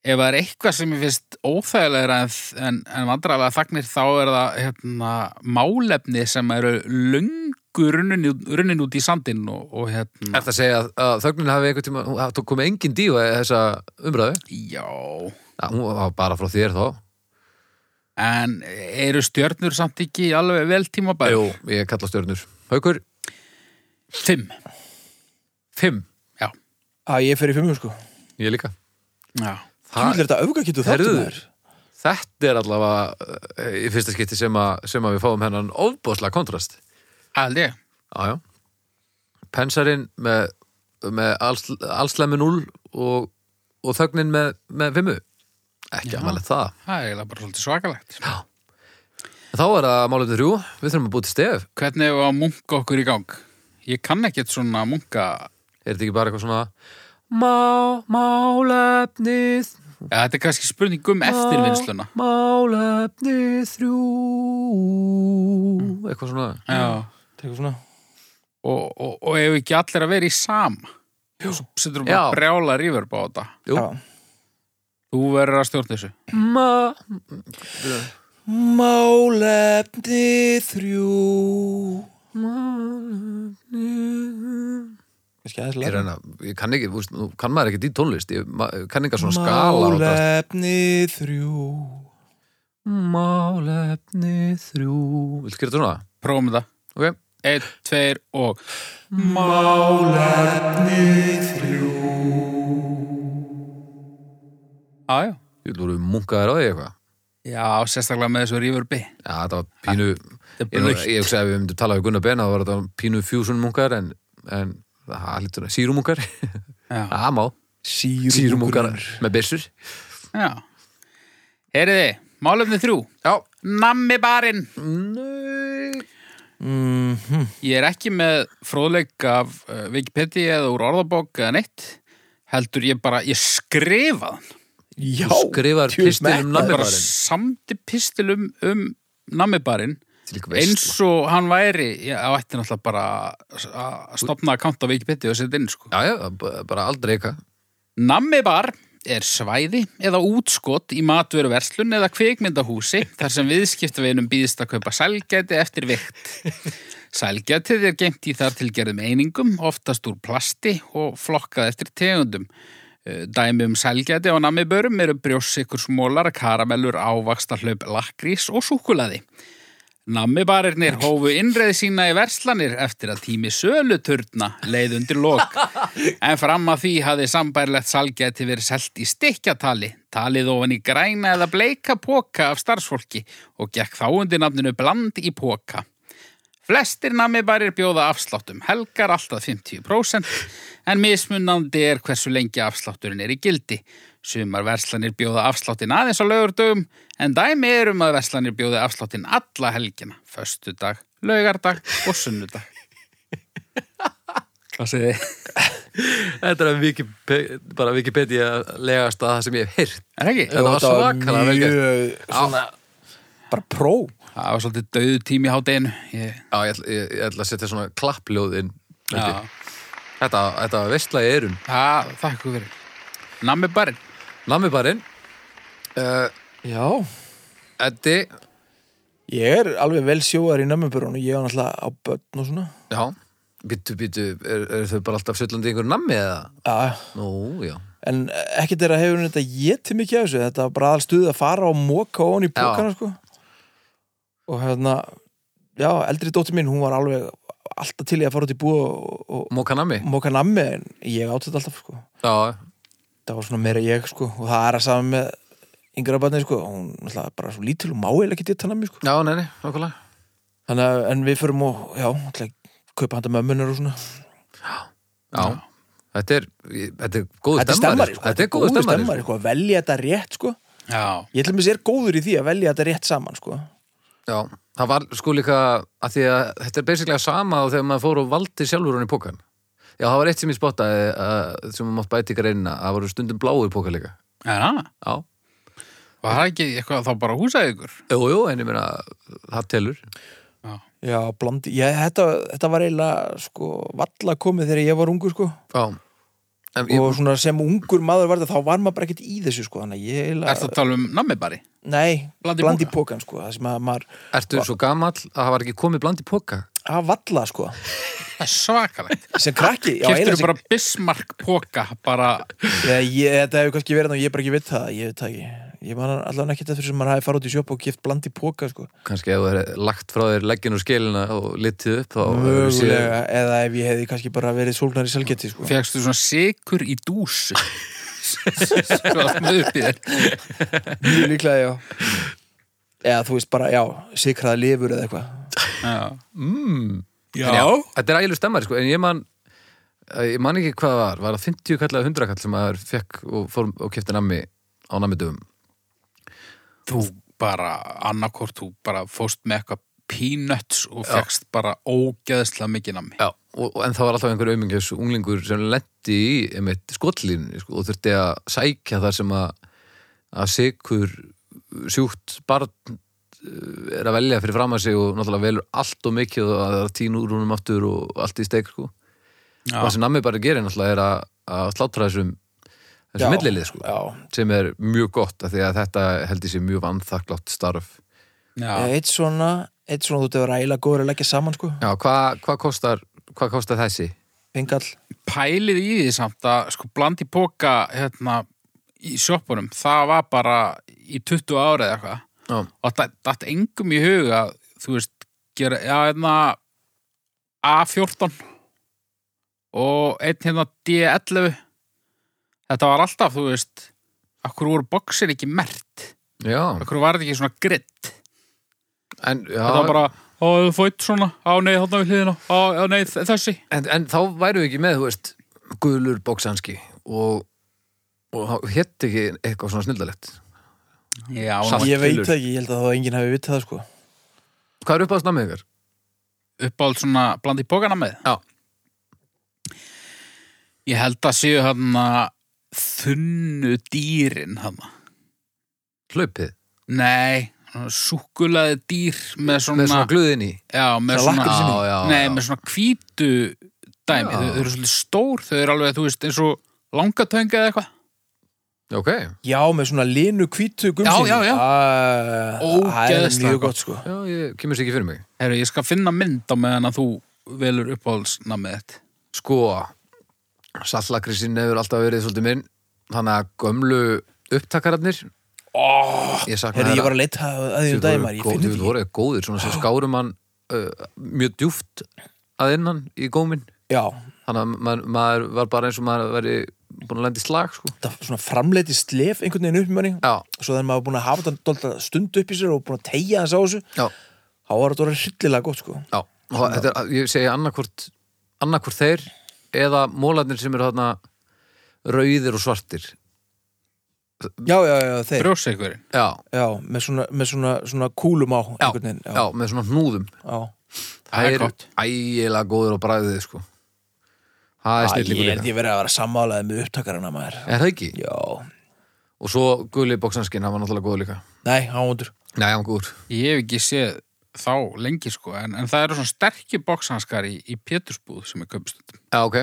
Speaker 3: ef það er eitthvað sem ég finnst óþægilegra en, en, en vandrarlega þagnir þá er það hérna, málefni sem eru lungu runnin, runnin út í sandinn og, og hérna,
Speaker 2: eftir að segja að, að þögnin hafi einhvern tíma, hún hafi komið engin díu þessa umræðu.
Speaker 3: já...
Speaker 2: Já, hún var bara frá þér þá
Speaker 3: En eru stjörnur samt ekki alveg vel tímabæri?
Speaker 2: Jú, ég kalla stjörnur Haukur,
Speaker 3: Fimm.
Speaker 2: fimm,
Speaker 1: Að ég fer í fimmu, sko.
Speaker 2: ég líka
Speaker 3: Já.
Speaker 1: Þú vil þetta öfga getur
Speaker 2: Heyrðu.
Speaker 1: þáttum þær.
Speaker 2: Þetta er allavega eh, í fyrsta skipti sem, að, sem að við fáum hennan ofbóðslega kontrast
Speaker 3: Aldi,
Speaker 2: Já, já Pensarinn með, með alls, allslemmi 0 og, og þögnin með, með fimmu Ekki
Speaker 3: Já.
Speaker 2: amalegt það
Speaker 3: það er eiginlega bara svolítið svakalegt.
Speaker 2: Þá er það málefni þrjú, við þurfum að búið til stef
Speaker 3: Hvernig var munka okkur í gang? Ég kann ekkert svona munka...
Speaker 2: Er þetta ekki bara eitthvað svona Má, málefnið
Speaker 3: Ja, þetta er kannski spurning um eftirvinnsluna.
Speaker 2: Málefni þrjú Eitthvað svona
Speaker 3: Já.
Speaker 1: Tekur svona.
Speaker 3: Og, og, og ef ekki allir að vera í sama. Jú. Svo setur við bara
Speaker 2: Já.
Speaker 3: brjála rífur á þetta.
Speaker 2: Jú.
Speaker 1: Já.
Speaker 3: Þú verður að stjórna þessu.
Speaker 2: Ma
Speaker 1: Málefni þrjú.
Speaker 2: Málefni
Speaker 1: Kannski aðeins
Speaker 2: Ég,
Speaker 1: læra.
Speaker 2: reyna, ég kann ekki, þú veist, nú kann maður ekki dýt tónlist Ég ma- kann ekki svona skala á þetta.
Speaker 1: Málefni þrjú.
Speaker 2: Málefni þrjú Viltu gera þetta svona?
Speaker 3: Prófum þetta.
Speaker 2: Ok,
Speaker 3: Einn, tveir og... Málefni þrjú. Já, já.
Speaker 2: ég vil voru munkaðir á því eitthvað
Speaker 3: Já, sérstaklega með þessu rífur B.
Speaker 2: Já, þetta var pínu
Speaker 3: Þetta er
Speaker 2: Ég,
Speaker 3: blautt.
Speaker 2: ég hugsaði að við myndum talað við Gunnar Ben þá var þetta pínu fjúsun munkaðir en, en það lítur að sírumunkar
Speaker 3: Já.
Speaker 2: Það má, sírumunkar
Speaker 1: Sírumunkar.
Speaker 2: með byrsur
Speaker 3: Já. Heyriði, málefni þrjú.
Speaker 2: Já
Speaker 3: Nammi barinn.
Speaker 2: Nei
Speaker 1: Mm
Speaker 3: Ég er ekki með fróðleik af uh, Wikipedia eða úr orðabók eða neitt. Heldur ég bara, ég skrifa hann.
Speaker 1: Já.
Speaker 2: Þú skrifar
Speaker 1: djú,
Speaker 2: pistil um
Speaker 1: mekkaður.
Speaker 2: nammi
Speaker 3: Bara
Speaker 2: barinn.
Speaker 3: samdi pistil um, um nammi barinn.
Speaker 2: Til ykkur
Speaker 3: Eins
Speaker 2: veist
Speaker 3: og hann væri, ég á ætti náttúrulega bara að stopna að kanta á Wikipedia og setja inn, sko.
Speaker 2: Já, já, b- bara aldrei eitthvað
Speaker 3: Nammibar er svæði eða útskot í matveruverslun eða kvikmyndahúsi þar sem viðskiptavinum býðist að kaupa sælgæti eftir vikt. Sælgætið er gengt í þar tilgerðum einingum, oftast úr plasti og flokkað eftir tegundum. Eh, Dæmi um sælgæti á nammibörum eru brjósikur smólar, karamellur, ávaxtarhlaup, lakrís og súkulaði. Nammibarirnir hófu innreið sína í verslanir eftir að tími söluturna leið undir lok. En fram að því hafði sambærilegt salgæti verið selt í stikkjatali, talið ofan í græna eða bleika póka af starfsfólki og gekk þá undir nafninu bland í póka. Flestir nammibarir bjóða afsláttum helgar alltaf 50% en mismunandi er hversu lengi afslátturinn er í gildi. Sumar verslanir bjóða afsláttinn aðeins á laugardögum en dæmi er um að verslanir bjóða afsláttinn alla helgina, föstudag, laugardag og sunnudag. Hvað segir þið?
Speaker 2: Þetta er að Wikipedia, bara Wikipedia legast að það sem ég hef heyrt.
Speaker 3: Er það ekki?
Speaker 2: Þetta var svakalega vel gert.
Speaker 1: mjög, svona, bara pró
Speaker 3: Það var svolítið döðu tími í hádeginu. Ég...
Speaker 2: Já, ég, ætla- ég, ég ætla að setja svona klappljóðin.
Speaker 3: Já,
Speaker 2: Þetta, þetta um var veistla í eyrun.
Speaker 3: það, þakku fyrir. Nammi barinn.
Speaker 2: Nammibarinn, uh,
Speaker 1: Já,
Speaker 2: Eddi,
Speaker 1: ég er alveg vel sjóðar í nömmuburunum, ég er náttúrulega á börn og svona
Speaker 2: já, býtu, býtu, er, er þau bara alltaf sullandi einhver nammi eða?
Speaker 1: Já,
Speaker 2: Nú, já.
Speaker 1: en ekkert er að hefur þetta getið mikið af þessu, þetta var bara aðalstuð að fara og móka ofan í bókana sko. og hérna já, eldri dóttir mín, hún var alveg alltaf til í að fara út í búð og,
Speaker 2: Móka nammi?
Speaker 1: og móka nammi en ég átti þetta alltaf sko.
Speaker 2: Já,
Speaker 1: það var svona meira ég sko. og það er að saman með yngra barni sko. hún náttúrulega bara svo lítil og má eða ekki þetta nammi sko.
Speaker 2: já, neini, okkurlega.
Speaker 1: Þannig að, en við förum og, já, alltaf kaupa handa mömmunar og svona.
Speaker 2: Já, þetta er, ég- þetta er góðu
Speaker 1: Þetta er stemmari, sko.
Speaker 2: Þetta er góðu stemmari, sko.
Speaker 1: sko. Að velja þetta rétt, sko.
Speaker 3: Já.
Speaker 1: Ég ætlum að sér góður í því að velja þetta rétt saman, sko.
Speaker 2: Já, það var sko líka að því að þetta er basically sama og þegar maður fór og valdi sjálfur hann í pókan Já, það var eitt sem ég spottaði að, sem maður mátt bæti ykkur einna að það voru stundum bláu í póka líka
Speaker 3: Já,
Speaker 2: Já,
Speaker 3: var það ekki eitthvað þá bara húsaði ykkur?
Speaker 2: jú, jú, en ég meina það telur
Speaker 1: Já, blandi, já, þetta, þetta var eiginlega, sko, valla komið þegar ég var ungur, sko.
Speaker 2: Já, en ég,
Speaker 1: Og svona sem ungur maður var þetta, þá var maður bara ekkert í þessu, sko. Þannig að ég eiginlega...
Speaker 3: Er það að tala um nammi bari?
Speaker 1: Nei,
Speaker 3: Blandi í
Speaker 1: blandi, blandi pókan, sko. Það sem að maður,
Speaker 2: ertu svo gamall að það var ekki komið bland í póka
Speaker 1: að valla, sko.
Speaker 3: Það er svakalegt.
Speaker 1: Sem krakki, já,
Speaker 3: Keftur
Speaker 1: eiginlega sem...
Speaker 3: bara Bismarck póka, bara,
Speaker 1: Ég, ég, þetta hefur kannski verið, ná, ég bara ekki veit það, ég veit það ekki. Ég man allan ekkert eftir sem maður hafi farið út í sjöp og kipt blandi póka, sko.
Speaker 2: kannski ef þú er lagt frá þér leggin og skilina og litið upp þá hefur þú séð-
Speaker 1: Mögulega, eða ef ég hefði kannski bara verið sólnar í selgeti sko.
Speaker 3: fegstu svona sikur í dúsu. Svo að smuðu upp í þér.
Speaker 1: Mjög líklega, já Eða þú veist bara, já, sikraða lifur eða eitthvað
Speaker 3: Já.
Speaker 1: Já,
Speaker 2: En Þetta er ægileg stemmari sko, en ég man eh, ég man ekki hvað það var, var það 50 kall eða 100 kall sem maður fekk og, fór, og kefti nammi á nammidöfum
Speaker 3: Þú bara, annarkort, þú bara fóst með eitthvað peanuts og fegst bara ógeðslega mikið nammi.
Speaker 2: Já, og, og en það var alltaf einhver aumingjus unglingur sem lendi í einmitt skollin sko, og þurfti að sækja þar sem að, að sikur sjúkt barn eh, er að velja fyrir fram að sig og náttúrulega velur allt og mikið og að það er tín úr húnum aftur og allt í steik sko. og
Speaker 3: Já.
Speaker 2: það sem nammi bara gerir náttúrulega er að, að slátra þessum,
Speaker 1: Já,
Speaker 2: þessum millilið sko.
Speaker 1: Já,
Speaker 2: sem er mjög gott af því að þetta held ég sé mjög vanþakklátt starf
Speaker 3: Já.
Speaker 1: eitt svona Eitt svona þú tegur ægilega góður að leggja saman sko
Speaker 2: Já, hvað hva kostar, hva kostar þessi?
Speaker 1: Pengall
Speaker 3: Pælið í því samt að sko blandi póka hérna í sjoppunum, það var bara í 20 ára eða eitthvað.
Speaker 2: Já,
Speaker 3: og það datt engum í hug að þú veist, gera, já, hérna A14 og einn hérna D11 þetta var alltaf, þú veist akkur voru boxin ekki mert
Speaker 2: já,
Speaker 3: akkur var þetta ekki svona gritt
Speaker 2: en, já
Speaker 3: þetta var bara, ó, þú fótt svona á nei, þarna við hliðina, á, á nei, þ- þessi
Speaker 2: en, en þá væru við ekki með, þú veist gulur bóksanski og, og þá hétt ekki eitthvað svona snildalegt
Speaker 3: já,
Speaker 2: Saman.
Speaker 1: Ég veit
Speaker 2: tölur.
Speaker 1: það ekki, ég held að það enginn hafi vitað það sko
Speaker 2: Hvað er upp að snammið ykkar?
Speaker 3: uppáld svona bland í bókana með
Speaker 2: Já.
Speaker 3: ég held að séu hérna þunnu dýrin hérna
Speaker 2: Hlaupið,
Speaker 3: Nei, súkulaði dýr með svona,
Speaker 2: með svona gluðin í
Speaker 3: já, með
Speaker 1: Svona
Speaker 3: svona,
Speaker 1: lakkrísinu.
Speaker 2: Já, já,
Speaker 3: nei,
Speaker 2: já.
Speaker 3: með svona hvítu
Speaker 2: Já.
Speaker 3: dæmi, þau, þau eru svolítið stór þau eru alveg, þú veist, eins og langatönga eða eitthvað
Speaker 2: Ok,
Speaker 1: Já, með svona linu hvítu
Speaker 3: Já,
Speaker 1: gumsin
Speaker 3: já, já.
Speaker 1: Það er
Speaker 3: Ógeðslega
Speaker 1: mjög
Speaker 3: gott.
Speaker 1: gott sko
Speaker 2: já, ég kemur sér ekki fyrir mig
Speaker 3: Heru, ég skal finna mynd á meðan að þú velur uppáhaldsnamið þitt
Speaker 2: Sko, sallakrissin hefur alltaf verið svolítið minn þannig að gömlu upptakararnir
Speaker 3: oh,
Speaker 2: Ég sakna
Speaker 1: Herri, ég
Speaker 2: þeirra.
Speaker 1: var að leita að því um
Speaker 2: Þeir
Speaker 1: daginn
Speaker 2: voru
Speaker 1: maður, ég
Speaker 2: góð-
Speaker 1: finn
Speaker 2: þeir
Speaker 1: þetta
Speaker 2: voru góðir, svona sem skárum hann uh, mjög djúft að innan í gómin
Speaker 1: ekki Já,
Speaker 2: þannig að maður, maður var bara eins og maður veri búin að lenda í slag sko.
Speaker 1: það var svona framleiti slef einhvern veginn upp með manni
Speaker 2: já,
Speaker 1: Svo þegar maður var búin að hafa þetta dálítið stund upp í sér og búin að tegja þess á þessu
Speaker 2: já,
Speaker 1: þá var þetta orðið hryllilega gott sko
Speaker 2: já og þetta, er- ég segi annarkvort annarkvort þeir eða mólarnir sem eru þarna rauðir og svartir
Speaker 1: Já, já, já, þeir
Speaker 3: brjóseikurinn
Speaker 2: já,
Speaker 1: Já, með svona, með svona, svona kúlum á
Speaker 2: já,
Speaker 1: einhvern veginn
Speaker 2: já, með svona hnúðum
Speaker 1: já.
Speaker 3: Það
Speaker 2: Þeir
Speaker 3: er
Speaker 2: eru
Speaker 3: gott.
Speaker 2: ægilega góður og bræðið sko. það er
Speaker 1: Æ,
Speaker 2: snillingur
Speaker 1: Ég held
Speaker 2: líka
Speaker 1: ég verið að vera sammálaðið með upptakarana maður
Speaker 2: er það ekki?
Speaker 1: Já,
Speaker 2: og svo guli bóksanskinn, hann var náttúrulega góður líka
Speaker 1: nei, hann var undur
Speaker 2: nei, hann var góður
Speaker 3: Ég hef ekki séð þá lengi sko en, en það eru svona sterkir bokshanskar í, í Pétursbúð sem er köpstundum
Speaker 2: Já, ok.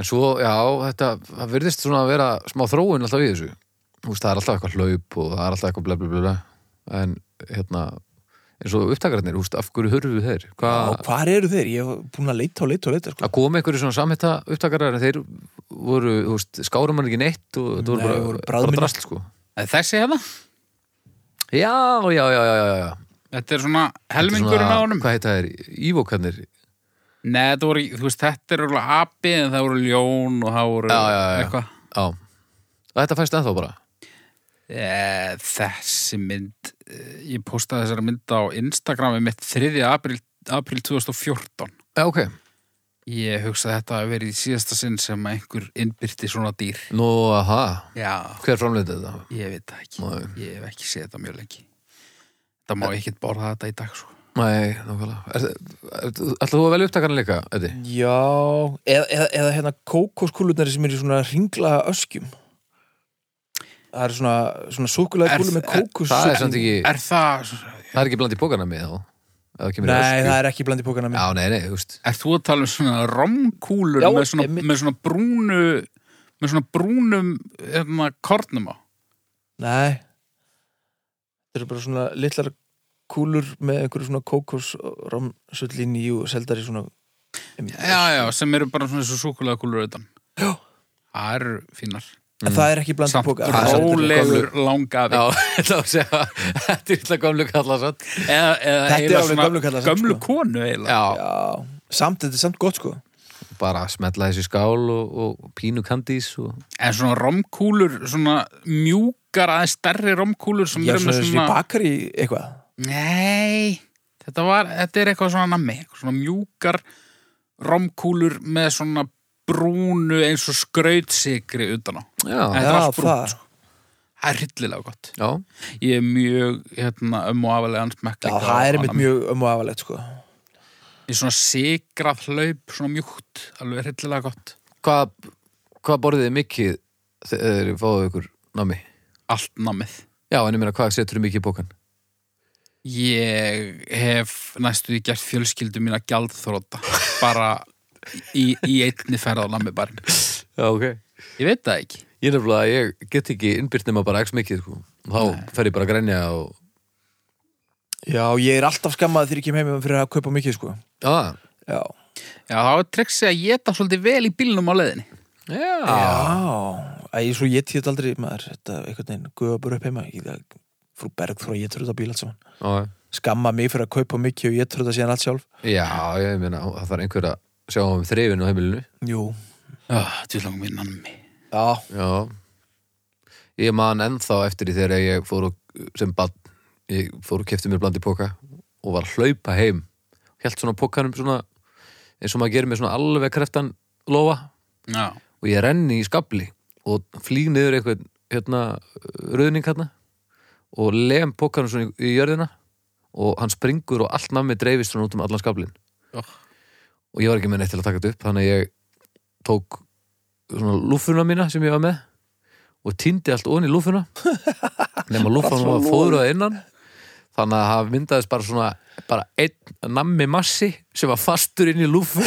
Speaker 2: En svo, já, þetta, það virðist svona að vera smá þróun alltaf í þessu. Þú veist, það er alltaf eitthvað hlaup og það er alltaf eitthvað bla bla bla bla. En, hérna, eins og upptakararnir, þú veist, af hverju hörfu þeir?
Speaker 1: Já,
Speaker 2: Hvað,
Speaker 1: hvar eru þeir? Ég hef búin að leita og leita og leita sko.
Speaker 2: að koma einhverju svona samhætta upptakarar en þeir voru, þú veist, skárum hann ekki neitt og
Speaker 1: Nei,
Speaker 2: þetta voru bara,
Speaker 1: voru
Speaker 2: bara
Speaker 1: bragðminni.
Speaker 2: drast, sko.
Speaker 3: Eh, Þessi hérna, hefða,
Speaker 2: Já, já, já, já, já, já.
Speaker 3: þetta er svona
Speaker 2: Þetta er
Speaker 3: helmingurinn á
Speaker 2: svona-
Speaker 3: honum
Speaker 2: Hvað heita þeir? Ívokarnir?
Speaker 3: Nei, þetta voru, þú veist, þetta er alveg api en það voru ljón og það voru
Speaker 2: Já, já, já.
Speaker 3: eitthvað
Speaker 2: Já. Þetta fæst ennþá bara.
Speaker 3: Eh, Þessi mynd, eh, ég postaði þessari mynd á Instagrami mitt 3. april, april 2014
Speaker 2: Já, ok.
Speaker 3: Ég hugsaði þetta að verið í síðasta sinn sem að einhver innbyrti svona dýr
Speaker 2: Nú, aha.
Speaker 3: Já,
Speaker 2: Hver framleitið þetta?
Speaker 3: ég veit það ekki
Speaker 2: Nei. Eh.
Speaker 3: Ég hef ekki séð þetta mjög lengi Það má ekkert borða þetta í dag sko.
Speaker 2: Nei, nákvæmlega Ætlaðu þú að velja upptakarna líka, Eddi?
Speaker 1: Já, eða, eða, eða hérna kókoskúlutnari sem eru í svona ringla öskjum Það eru svona, svona súkulega
Speaker 3: Er-
Speaker 1: kúlu með
Speaker 3: er-
Speaker 1: kókos
Speaker 2: Það er samt ekki,
Speaker 3: Er það,
Speaker 2: það er ekki bland í bókana með þá Ef það kemur í
Speaker 1: Nei,
Speaker 2: öskju.
Speaker 1: það er ekki bland í pókana
Speaker 2: Já,
Speaker 1: mér
Speaker 2: nei, nei, þú veist [laughs]
Speaker 3: er þú að tala um svona romkúlur
Speaker 1: Já,
Speaker 3: með svona,
Speaker 1: einmitt.
Speaker 3: með svona brúnu með svona brúnum hérna, kornum á
Speaker 1: Nei Það eru bara svona litlar kúlur með einhverju svona kókos romsullin í og seldar í svona einmitt,
Speaker 3: Já, já, sem eru bara svona þessu súkulega kúlur utan
Speaker 1: Já.
Speaker 3: Það eru fínar
Speaker 1: En það er ekki bland í
Speaker 3: Samt
Speaker 1: póka
Speaker 2: Það er samt-
Speaker 3: rólegur langafi
Speaker 2: Já, þá sé að Þetta er illa gömlu kalla satt
Speaker 3: eða, eða
Speaker 1: Þetta er
Speaker 3: eiginlega
Speaker 1: alveg
Speaker 3: svona
Speaker 1: gömlu kallar, samt,
Speaker 3: gömlu
Speaker 1: sko.
Speaker 3: konu eiginlega
Speaker 2: Já,
Speaker 1: Já, samt, þetta er samt gott sko
Speaker 2: bara smetla þessi skál og, og pínu kandís og...
Speaker 3: En svona romkúlur, svona mjúkar aðeins stærri romkúlur sem
Speaker 1: Já,
Speaker 3: eru
Speaker 1: svona
Speaker 3: með
Speaker 1: þessi
Speaker 3: svona
Speaker 1: bakar í eitthvað
Speaker 3: Nei, þetta, var, þetta er eitthvað svona nammi, eitthvað svona mjúkar romkúlur með svona brúnu eins og skrautsikri utan á.
Speaker 2: Já,
Speaker 3: Þetta er
Speaker 1: Já,
Speaker 3: allt brúnt,
Speaker 1: það.
Speaker 3: sko. Það er hryllilega gott.
Speaker 2: já,
Speaker 3: Ég er mjög hérna, um og afalega hans mekk.
Speaker 1: Já, það er einmitt mjög um og afalegt sko
Speaker 3: Í svona sigrað hlaup, svona mjúkt, alveg hryllilega gott.
Speaker 2: hvað hva borðið þið mikið þegar þið fáðu ykkur námi?
Speaker 3: Allt nammið.
Speaker 2: Já, en ég meina, hvað setur þið mikið í bókan?
Speaker 3: Ég hef næstu því gert fjölskyldu mína gjaldþróta bara í, í einni ferð á nammi barinn.
Speaker 2: Já, ok
Speaker 3: Ég veit það ekki.
Speaker 2: Ég nefnilega, ég get ekki innbyrt nema bara x mikið, sko Þá fer ég bara að grenja og...
Speaker 1: Já, ég er alltaf skammað þegar ég kem heim fyrir að kaupa mikið sko
Speaker 2: Já,
Speaker 1: Já,
Speaker 3: Já, þá er triksi að geta svolítið vel í bílnum á leiðinni.
Speaker 2: já.
Speaker 1: Æ, svo ég tíð þetta aldrei maður, þetta einhvern veginn guða bara upp heima ég, það- frú Berg þró ég tröða bíl allt saman
Speaker 2: Já,
Speaker 1: skamma mig fyrir að kaupa mikið og ég tröða síðan allt sjálf
Speaker 2: Já, ég meina, það þarf einhver að sjá um þrifin á heimilinu.
Speaker 1: Jú,
Speaker 3: Tvílangum minn nammi.
Speaker 1: já,
Speaker 2: Já. Ég man ennþá eftir því þegar ég fór og, sem bann, ég fór og kefti mér bland í póka og var að hlaupa heim. Hjælt svona pókanum svona, eins og maður gerir með svona alveg kreftan lofa
Speaker 3: Já.
Speaker 2: og ég renni í skabli og flýg niður eitthvað, hérna, rauðning hérna og lem pókanum svona í, í jörðina og hann springur og allt nammi dreifist svona út um allan skablin. og ég var ekki með neitt til að taka þetta upp þannig að ég tók svona lúfuna mína sem ég var með og týndi allt ofan í lúfuna nema lúfuna var fóðrað innan þannig að það myndaðist bara svona bara einn nammi massi sem var fastur inn í lúfu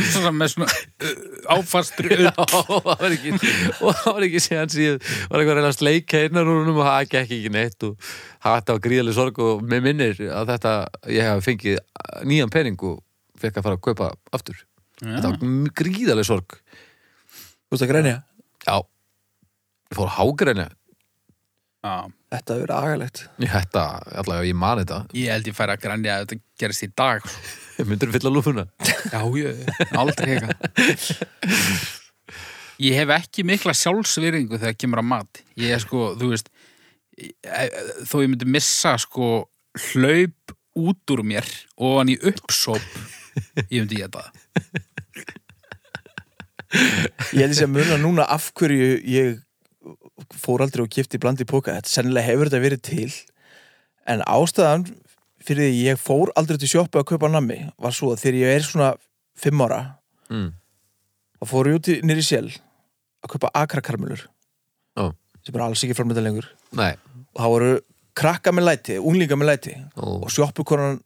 Speaker 3: Svona með svona uh, áfastri
Speaker 2: Já, og það var ekki og það var ekki síðan síðan var eitthvað að reyna að sleika innan úr húnum og það gekk ekki neitt og þetta var gríðaleg sorg og mér minnir að þetta ég hef fengið nýjan pening og fekk að fara að kaupa aftur þetta var gríðaleg sorg
Speaker 1: þú veist að grænja
Speaker 2: Já, ég fór hágræna
Speaker 3: Já.
Speaker 1: Þetta hefur verið agalegt.
Speaker 2: Ég hætta, allavega ég man þetta [laughs]
Speaker 3: Ég held ég færi að grænja að þetta gerist í dag.
Speaker 2: Myndur fylla lúfuna
Speaker 3: Já, ég, aldrei eitthvað. Ég hef ekki mikla sjálfsveringu þegar kemur að mat. Ég er sko, þú veist, ég- þó ég myndi missa sko hlaup út úr mér og hann í uppsóp, ég myndi ég það.
Speaker 1: Ég held ég sé að muna núna af hverju ég fór aldrei og kipti blandi póka. Þetta sennilega hefur þetta verið til en ástæðan fyrir því ég fór aldrei til sjoppa að kaupa nammi var svo að þegar ég er svona fimm ára
Speaker 2: mm.
Speaker 1: þá fór ég út í nýri sjel að kaupa akrakarmelur
Speaker 2: Ó.
Speaker 1: sem er alls ekki framönda lengur
Speaker 2: Nei,
Speaker 1: og það voru krakka með læti, unglinga með læti
Speaker 2: Ó.
Speaker 1: og sjoppukonan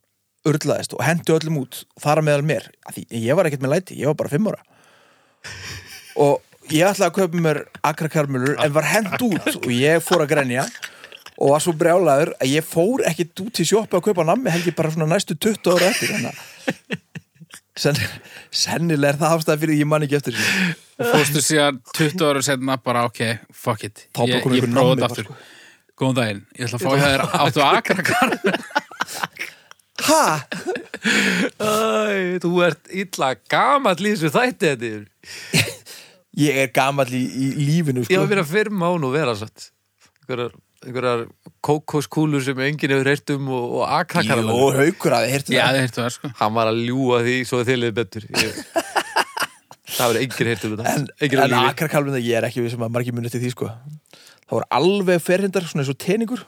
Speaker 1: urlaðist og hendi öllum út og þar að meðal mér af því ég var ekkert með læti, ég var bara fimm ára og ég ætlaði að kaupa mér akrakarmelur en var hend út og ég fór að grenja og var svo brjálaður að ég fór ekkert út til sjoppu að kaupa nammi held ég bara svona næstu 20 ára eftir þannig að Sen, sennilega er það ástæða fyrir því ég man ekki eftir þessu.
Speaker 3: Fórstu síðan 20 ára setna bara, ok, fuck it.
Speaker 1: Þá bara
Speaker 3: Ég,
Speaker 1: kom
Speaker 3: ég
Speaker 1: einhver nammi
Speaker 3: prófa þetta
Speaker 1: bara, sko.
Speaker 3: aftur. Góðan daginn, ég ætla að fá að þér áttu akrakar.
Speaker 1: [laughs] Ha?
Speaker 2: Æ, þú ert illa gamall í þessu þætti þetta er.
Speaker 1: Ég er gamall í, í lífinu
Speaker 2: Ég
Speaker 1: sko.
Speaker 2: var að vera fimm án og vera satt einhverjar, einhverjar kókoskúlur sem enginn hefur heyrt um og, og akrakarar
Speaker 1: Jú, haukur að þið heyrtu
Speaker 3: Já,
Speaker 1: það
Speaker 3: þið hirtu það, sko.
Speaker 2: Hann var að ljúa því svo þið liðið betur ég... [laughs] Það verður enginn heyrt um þetta
Speaker 1: En,
Speaker 2: Enginn að
Speaker 1: en
Speaker 2: lífi
Speaker 1: akrakalvina, ég er ekki við sem að margir munið til því sko. Það voru alveg ferhindar, svona eins og teningur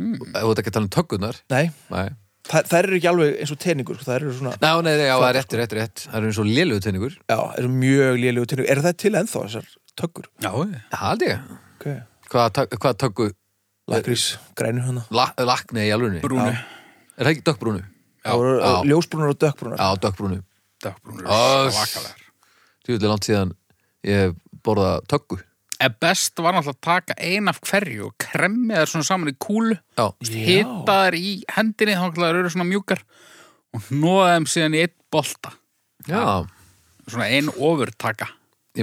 Speaker 2: Þú veit ekki að tala um tökkunar
Speaker 1: Nei,
Speaker 2: Nei
Speaker 1: þær, þær eru ekki alveg eins og teningur sko. Þær eru svona,
Speaker 2: Ná, nei, nei, já, það er rétt, rétt, rétt Það eru eins og lélugu tenningur
Speaker 1: já, eru mjög lélegu teningur Eru það til ennþá, þessar töggur?
Speaker 3: Já, ég.
Speaker 2: Það held ég
Speaker 1: Okay.
Speaker 2: Hvað, tök, hvað tökku
Speaker 1: Lakrís, grænu hana
Speaker 2: la, lakni í alvörunni Er
Speaker 3: Brúnu.
Speaker 2: það ekki dökkbrúnu?
Speaker 1: Það voru
Speaker 2: já.
Speaker 1: ljósbrúnar og dökkbrúnar
Speaker 2: Já, dökkbrúnu
Speaker 3: Dagbrúnur.
Speaker 2: Öss.
Speaker 3: Svakalega.
Speaker 2: Þú vilja langt síðan ég hef borðað tökku
Speaker 3: En best var náttúrulega að taka ein af hverju og kremja þær svona saman í kúlu
Speaker 2: Já,
Speaker 3: hita þær í hendinni þá náttúrulega þær eru svona mjúkar og hnoða þeim síðan í einn bolta
Speaker 2: já
Speaker 3: svona ein ofurtaka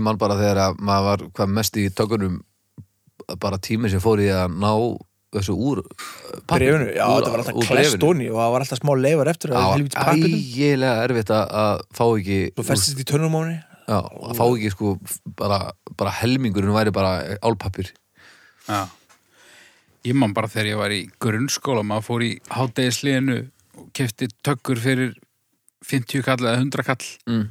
Speaker 2: Ég man bara þegar að maður var hvað mest í tökkunum bara tími sem fór í að ná þessu úr uh,
Speaker 1: Brefinu, já, þetta var alltaf klestóni og það var alltaf smá leifar eftir
Speaker 2: Það
Speaker 1: Það
Speaker 2: var
Speaker 1: var helvítið
Speaker 2: ægilega erfitt að- að fá ekki
Speaker 1: Svo festist í tönnum á henni
Speaker 2: Já, að fá ekki sko bara, bara helmingurinn væri bara álpappir
Speaker 3: Já. Ég man bara þegar ég var í grunnskóla maður fór í hátæðisliðinu og kefti tökkur fyrir 50 kall eða 100 kall
Speaker 2: mm.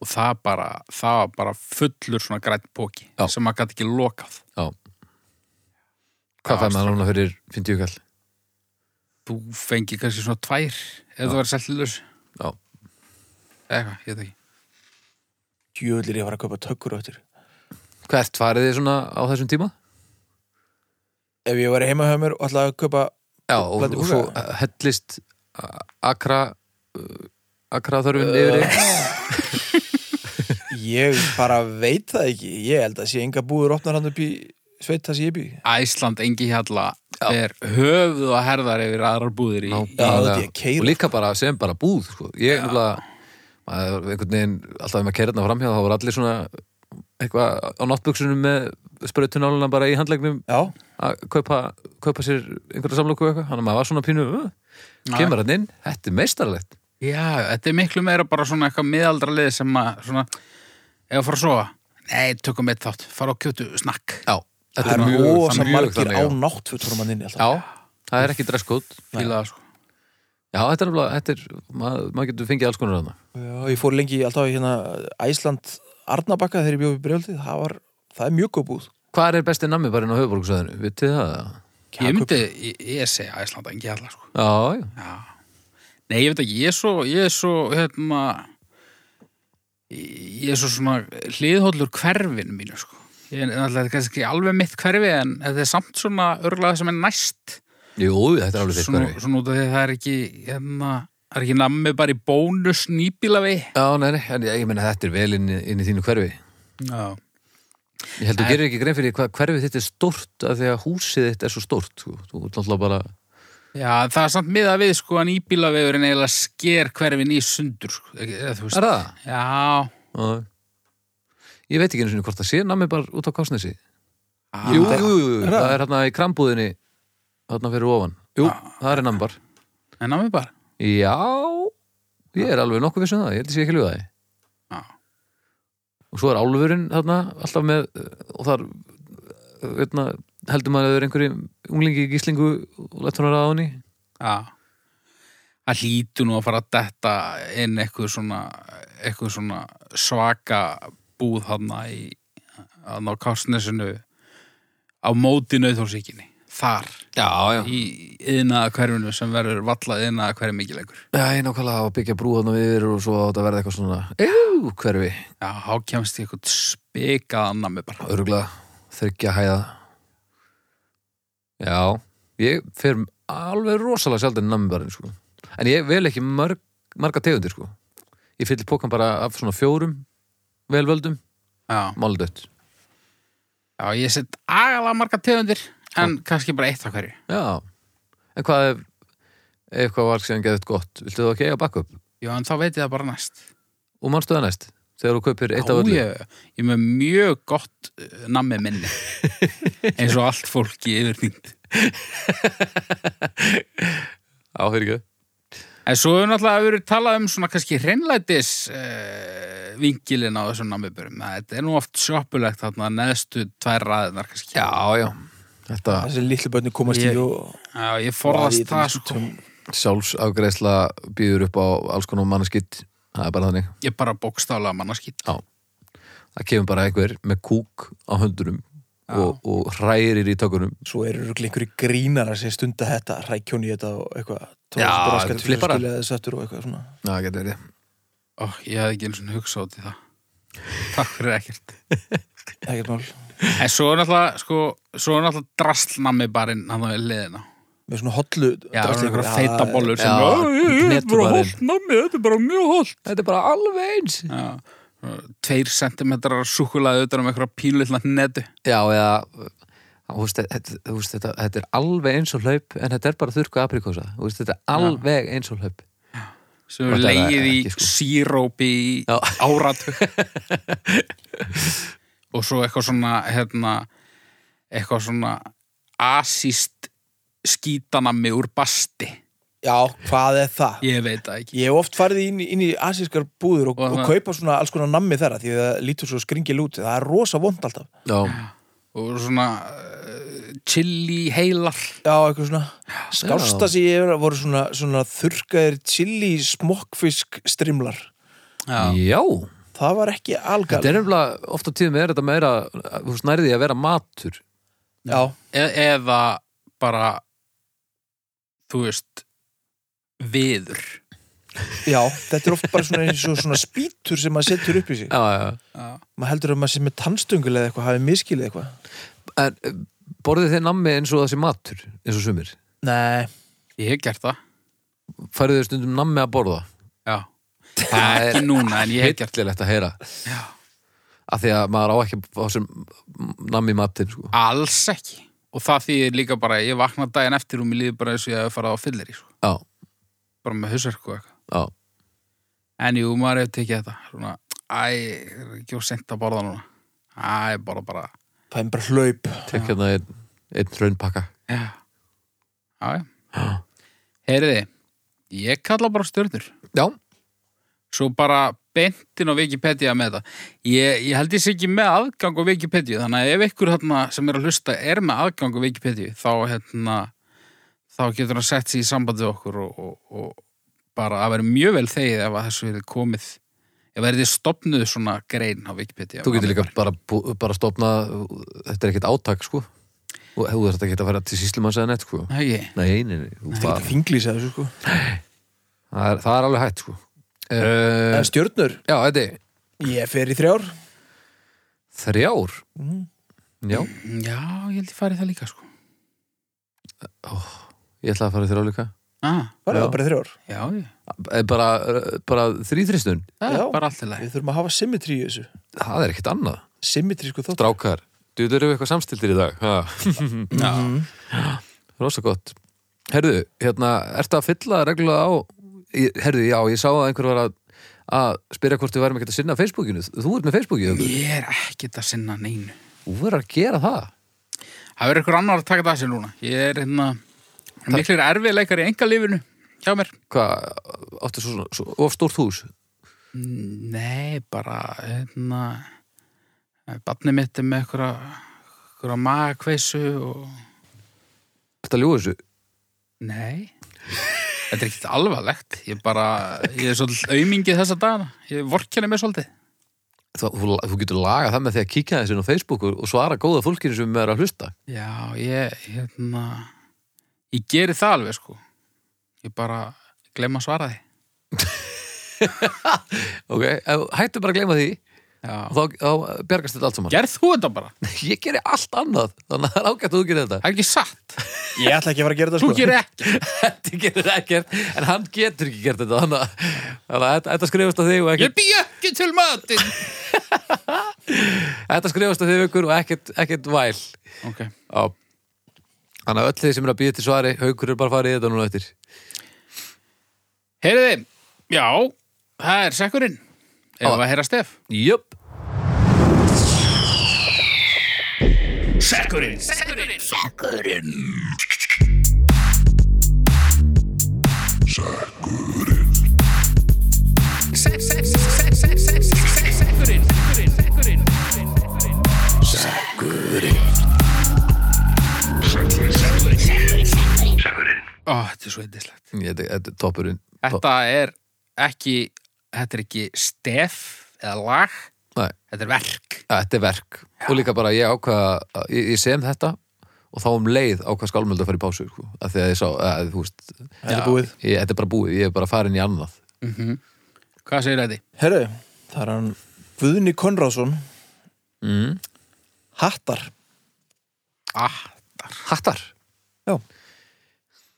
Speaker 3: og það, bara, það var bara fullur svona grætt póki
Speaker 2: Já.
Speaker 3: sem maður gæti ekki lokað
Speaker 2: Já Hvað
Speaker 3: Já,
Speaker 2: fær maður núna fyrir 50 kall?
Speaker 3: Þú fengi kannski svona tvær ef það var seltilus
Speaker 2: Já,
Speaker 3: eða eitthvað, ég veit ekki
Speaker 1: Jöðlir ég var að kaupa töggur á eftir
Speaker 2: hvert farið þið svona á þessum tíma?
Speaker 1: Ef ég var heima hjá mér og ætlaði að kaupa
Speaker 2: Já, og,
Speaker 1: Blandið
Speaker 2: og svo
Speaker 1: búka.
Speaker 2: hellist uh, akra uh, akra þörfin yfir þig
Speaker 1: Ég bara veit það ekki Ég held að sé enga búður opnar hann upp í sveit það sem ég bý
Speaker 3: Æsland engi hjalla er höfuð og herðar yfir aðrar búðir í
Speaker 1: Já,
Speaker 2: Bara-
Speaker 1: þetta ég keyra.
Speaker 2: Og líka bara sem bara búð sko. Ég er nefnilega maður, einhvern veginn, alltaf ef maður keirðna framhjá þá voru allir svona eitthvað á náttbuksunum með sprautunáluna bara í handlegnum
Speaker 1: Já,
Speaker 2: að kaupa, kaupa sér einhverja samloku eitthvað, hann að maður var svona pínu uh, kemur hann inn, þetta er meistarlegt
Speaker 3: Já, þetta er miklu meira bara svona eitthvað miðaldra lið sem að svona, ef að fara að sofa Nei, tökum eitt þátt, fara á kjötu snakk
Speaker 2: já, þetta
Speaker 1: það
Speaker 2: er
Speaker 1: eru
Speaker 2: mjög,
Speaker 1: rosa
Speaker 2: mjög
Speaker 1: margir
Speaker 2: þannig
Speaker 1: á
Speaker 2: já.
Speaker 1: náttfötunum hann inni alltaf
Speaker 2: já, það er ekki dresskót já,
Speaker 3: Fílaða sko
Speaker 2: þetta er alveg, þetta er maður, maður getur fengið alls konar hana
Speaker 1: Já, ég fór lengi í- alltaf í hérna Æsland Arnabakka þegar ég bjóð við brjóltið það, var, það er mjög góð búð
Speaker 2: hvað er besti nammi bara inn á höfuborgsöðinu, vitið þið það eða?
Speaker 3: Ég myndi, ég, ég segi Æsland engi hjalla sko
Speaker 2: já, já,
Speaker 3: Já Nei, ég veit ekki, ég er svo, ég er svo, hérna Ég er svo svona hliðhóllur hverfinu mínu sko Ég er náttúrulega kannski ekki alveg mitt hverfi en þetta er samt svona örglega sem er næst
Speaker 2: jú, þetta er alveg þitt
Speaker 3: svona,
Speaker 2: hverfi
Speaker 3: svona út af því að það er ekki hérna, það er ekki nammi bara í bónus nýbílavi
Speaker 2: já, nei, nei, en ég, ég meina þetta er vel inn, í- inn í þínu hverfi
Speaker 3: Já,
Speaker 2: ég held þú gerir ekki grein fyrir því hvað hverfi þitt er stórt af því að húsið þitt er svo stórt sko. þú ert alltaf bara,
Speaker 3: það er samt miða við sko að nýbílavegurinn eiginlega sker hverfin í sundur sko, ekki, eða, þú veist
Speaker 2: er það?
Speaker 3: Já,
Speaker 2: Já. Ég veit ekki einu sinni hvort það sé nammi bara út á Kásnesi Ah. Jú, jú, jú, jú,
Speaker 1: Er það?
Speaker 2: það er hérna í krambúðinni hérna fyrir ofan Jú, það er nambar
Speaker 3: en námið bara
Speaker 2: Já, ég er alveg nokkuð vissum það, ég held að sé ekki ljúða því
Speaker 3: Já.
Speaker 2: Og svo er álfurinn þarna alltaf með og þar veitna, heldur maður að það er einhverjum unglingi í gíslingu og lettur hann að ráðunni
Speaker 3: Já. Það hlýtu nú að fara að detta inn eitthvað svona, eitthvað svona svaka búð hana í hann á Kársnesinu á móti nauðhólsíkinni. Þar,
Speaker 2: Já, já
Speaker 3: í yðnaða hverfinu sem verður vallað yðnaða hverfi mikið lengur.
Speaker 2: Já, ég nákvæmlega að byggja brú þarna yfir og svo átt að verða eitthvað svona Jú, hverfi,
Speaker 3: Já, þá kemst ég eitthvað spikað annað með bara.
Speaker 2: öruglega þryggja hæða Já, ég fer alveg rosalega sjaldan í nammibarinn sko. en ég vel ekki marg, marga tegundir sko. ég fyllir pókan bara af svona fjórum velvöldum,
Speaker 3: Já,
Speaker 2: máldött
Speaker 3: já ég sett agalega marga tegundir, en kannski bara eitt af hverju.
Speaker 2: Já, en hvað ef ef eitthvað var sem geðið gott viltu þú ekki eiga backup
Speaker 3: Já, en þá veit ég það bara næst.
Speaker 2: og mannstu það næst þegar þú kaupir eitt af
Speaker 3: Já,
Speaker 2: öllu
Speaker 3: ég, ég er með mjög gott eh, nammi
Speaker 2: [laughs]
Speaker 3: minni eins og allt fólk í yfirnýnd
Speaker 2: Já, fyrir ekki
Speaker 3: en svo hefur náttúrulega verið talað um svona kannski hreinlætis uh, vingilin á þessum nammiburum þetta er nú oft sjoppulegt þarna neðstu tvær raðinar kannski
Speaker 2: Já, já, þetta
Speaker 1: Þessi litlu bönni komast
Speaker 3: Ég-
Speaker 1: í og um-
Speaker 3: Já, ég forðast það sko
Speaker 2: sjálfsafgreðsla býður upp á alls konar mannskitt það er bara þannig
Speaker 3: ég bara bókstálega mannaskýtt
Speaker 2: það kemur bara einhver með kúk á höndurum
Speaker 3: Já.
Speaker 2: og, og hrærir í tökunum
Speaker 1: Svo eru örugglega einhverju grínar að segja stunda þetta, rækjóni þetta og eitthvað.
Speaker 2: Já,
Speaker 1: tónlistarbraskat til að
Speaker 2: flipparar.
Speaker 1: spila þess aftur og eitthvað svona.
Speaker 2: Já, getur verið
Speaker 3: Ó, ég hafði ekki einu svona hugsað út í það takk fyrir ekkert
Speaker 1: Ekkert mál.
Speaker 3: en svo er náttúrulega sko, svo er náttúrulega drastlnammi barinn hann á liðina
Speaker 1: Með svona hollu.
Speaker 3: Já, það
Speaker 1: drasli-
Speaker 3: er einhverja
Speaker 1: Já,
Speaker 3: feita bollur sem
Speaker 2: Já,
Speaker 3: Þetta er bara
Speaker 2: hnetubarinn.
Speaker 3: holdt nammi, þetta er bara mjög holdt
Speaker 2: Þetta er bara alveg eins
Speaker 3: Já, svona tveir sentimetrar súkulaði utan um einhverja pínlilla netu
Speaker 2: Já, eða þú veist, þetta, þú veist, þetta, þetta er alveg eins og hlaup en þetta er bara þurrku aprikósa Þú veist, þetta er alveg eins og hlaup
Speaker 3: sem við
Speaker 2: Þetta er
Speaker 3: leigið í
Speaker 2: ekki, sko.
Speaker 3: sírópi í
Speaker 2: Já.
Speaker 3: [laughs] áratug og svo eitthvað svona hérna, eitthvað svona asíst skítanammi úr basti
Speaker 1: Já, hvað er það?
Speaker 3: ég veit það ekki
Speaker 1: Ég hef oft farið inn, í- inn í asískar búður og,
Speaker 3: Og
Speaker 1: og,
Speaker 3: það-
Speaker 1: kaupa svona alls konar nammi þeirra því það lítur svo skringil út. Það er rosa vond alltaf.
Speaker 2: Já,
Speaker 3: og svona uh, chili heilar
Speaker 1: Já, eitthvað svona skásta sem ég hefur voru svona, svona þurrkaðir chili smokkfisk strimlar.
Speaker 3: Já.
Speaker 2: Já.
Speaker 1: Það var ekki algal.
Speaker 2: Þetta er nefnilega oft á tíðum er þetta meira þú veist, nærði að vera matur
Speaker 1: Já,
Speaker 3: e eða bara þú veist viður
Speaker 1: já, þetta er oft bara svona eins og svona spýtur sem maður setur upp í sig.
Speaker 2: Já, já, já
Speaker 3: Já.
Speaker 1: Maður heldur að maður sem er tannstöngul eða eitthvað hafi miskilið eitthvað.
Speaker 2: En eh, borðið þið nammi eins og það sé matur eins og sumir
Speaker 1: Nei,
Speaker 3: ég hef gert það
Speaker 2: Færðu þið stundum nammi að borða
Speaker 3: Já, það er ekki núna en ég hef gert
Speaker 2: hillilegt að heyra
Speaker 3: Já.
Speaker 2: að því að maður á ekki að fá sem nammi í matinn sko.
Speaker 3: alls ekki og það þýðir líka bara, ég vakna daginn eftir og mér líður bara eins og ég hef farið á fyllir í sko.
Speaker 2: já,
Speaker 3: bara með hausverk og eitthvað
Speaker 2: já,
Speaker 3: en jú, maður hefur tekið þetta svona, æ, er ekki og sent að borða núna æ, bara bara
Speaker 1: það er bara hlaup.
Speaker 2: tek hérna einn ein raunpakka
Speaker 3: já, já, já. heyriði ég kalla bara stjörnur
Speaker 2: já,
Speaker 3: svo bara bentin á Wikipedia með þetta ég, ég held ég sé ekki með aðgang á Wikipedia þannig að ef ykkur þarna sem er að hlusta er með aðgang á Wikipedia þá hérna þá getur hann sett sér í sambandi við okkur og, og, og bara að vera mjög vel þegið ef að þessu hefði komið ef verðið stopnuð svona grein á Wikipedia
Speaker 2: þú getur líka bara, bú- bara stopna þetta er ekkert átak sko. og þú þarf ekki að fara til síslumanns eða neitt sko.
Speaker 3: Hegi,
Speaker 2: nei, nei, nei, þú-
Speaker 1: Það er
Speaker 2: það,
Speaker 1: finglís að þessu sko.
Speaker 2: það, er, það er alveg hægt sko. uh,
Speaker 1: En stjörnur,
Speaker 2: já, þetta er
Speaker 1: ég fer í þrjár. Mm,
Speaker 2: þrjár já,
Speaker 3: já, ég held ég farið það líka sko
Speaker 2: ég ætla að fara í þrjár líka
Speaker 3: ah,
Speaker 1: Bara,
Speaker 2: Já.
Speaker 1: það bara í þrjár.
Speaker 3: já, já,
Speaker 2: Eh, bara, bara þrýþristun
Speaker 3: það
Speaker 1: Já.
Speaker 3: er bara allt í lagi
Speaker 1: Við þurfum að hafa symmetri í þessu.
Speaker 2: það er ekkert annað
Speaker 1: Symmetri sko þótt.
Speaker 2: Strákar, þú eru eitthvað samstildir í dag ha. [laughs]
Speaker 3: já,
Speaker 2: Rosa gott Herðu, hérna, ertu að fylla reglulega á Ég- Herðu, já, ég sá að einhver var að að spyrja hvort við værum ekkert að sinna Facebookinu Þú ert með Facebookið,
Speaker 3: ég er ekkert að sinna neinu
Speaker 2: þú verður að gera það
Speaker 3: Það verður ykkur annar að taka það sér núna. Ég er hérna, miklir erfið leikar í engalífinu hjá mér.
Speaker 2: Hvað, áttu svo, svo of stórt hús?
Speaker 3: Nei, bara, hérna, barnið mitt er með ykkur að magakveisu og...
Speaker 2: Þetta ljúið þessu?
Speaker 3: Nei. Þetta er ekkert alvarlegt. Ég bara, ég er svolítið aumingið þessa dagana. Ég vorkenni mér svolítið.
Speaker 2: Þá, þú, þú getur lagað það með því að kíkja þessi inn á Facebook og, og svara góða fólkinu sem er að hlusta.
Speaker 3: Já, ég, hérna, ég geri það alveg, sko. Ég bara glemma að svara því.
Speaker 2: Ok, ef- hættu bara að gleyma því
Speaker 3: Já.
Speaker 2: og þá, þá bergast þetta allt saman.
Speaker 3: Gerð þú þetta bara?
Speaker 2: [laughs] Ég geri allt annað, þannig að það er ágætt að þú gerir þetta.
Speaker 3: Það er ekki satt.
Speaker 1: Ég ætla ekki að fara að gera þetta
Speaker 3: Þú
Speaker 1: sko
Speaker 3: gerir ekki.
Speaker 2: [laughs] Þetta gerir ekkert, en hann getur ekki gert þetta, þannig að- þannig að þetta- þetta skrifast á þig og
Speaker 3: Ég
Speaker 2: ekkert,
Speaker 3: bý ekki til matinn.
Speaker 2: þetta skrifast á þig ykkur og ekkert, ekkert væl.
Speaker 3: Ok.
Speaker 2: Já. Þannig að öll þið sem er að býja til svari, haukur er bara að fara í þetta núna eftir.
Speaker 3: Heyriði, já, það er sekkurinn. Ef
Speaker 2: Já.
Speaker 3: að heyra stef.
Speaker 2: Jöp.
Speaker 3: Ó, þetta er svo yndislegt.
Speaker 2: Ég- Þetta þetta er toppurinn. Topp-
Speaker 3: Þetta er ekki, þetta er ekki stef eða lag,
Speaker 2: Nei,
Speaker 3: þetta er verk.
Speaker 2: Þetta er verk. Og líka bara ég ákvað, að- ég, ég sem þetta og þá um leið ákvað skálmöld að fara í pásu. Sko. Af Því að ég sá, að, þú veist,
Speaker 1: Þetta er búið
Speaker 2: ég, þetta er bara búið, ég er bara farin í annað.
Speaker 3: Mhm. Hvað segir þetta?
Speaker 1: Herru, það er hann Guðni Konráðsson
Speaker 2: Mm.
Speaker 1: Hattar
Speaker 3: Ah,
Speaker 2: Hattar.
Speaker 1: Já.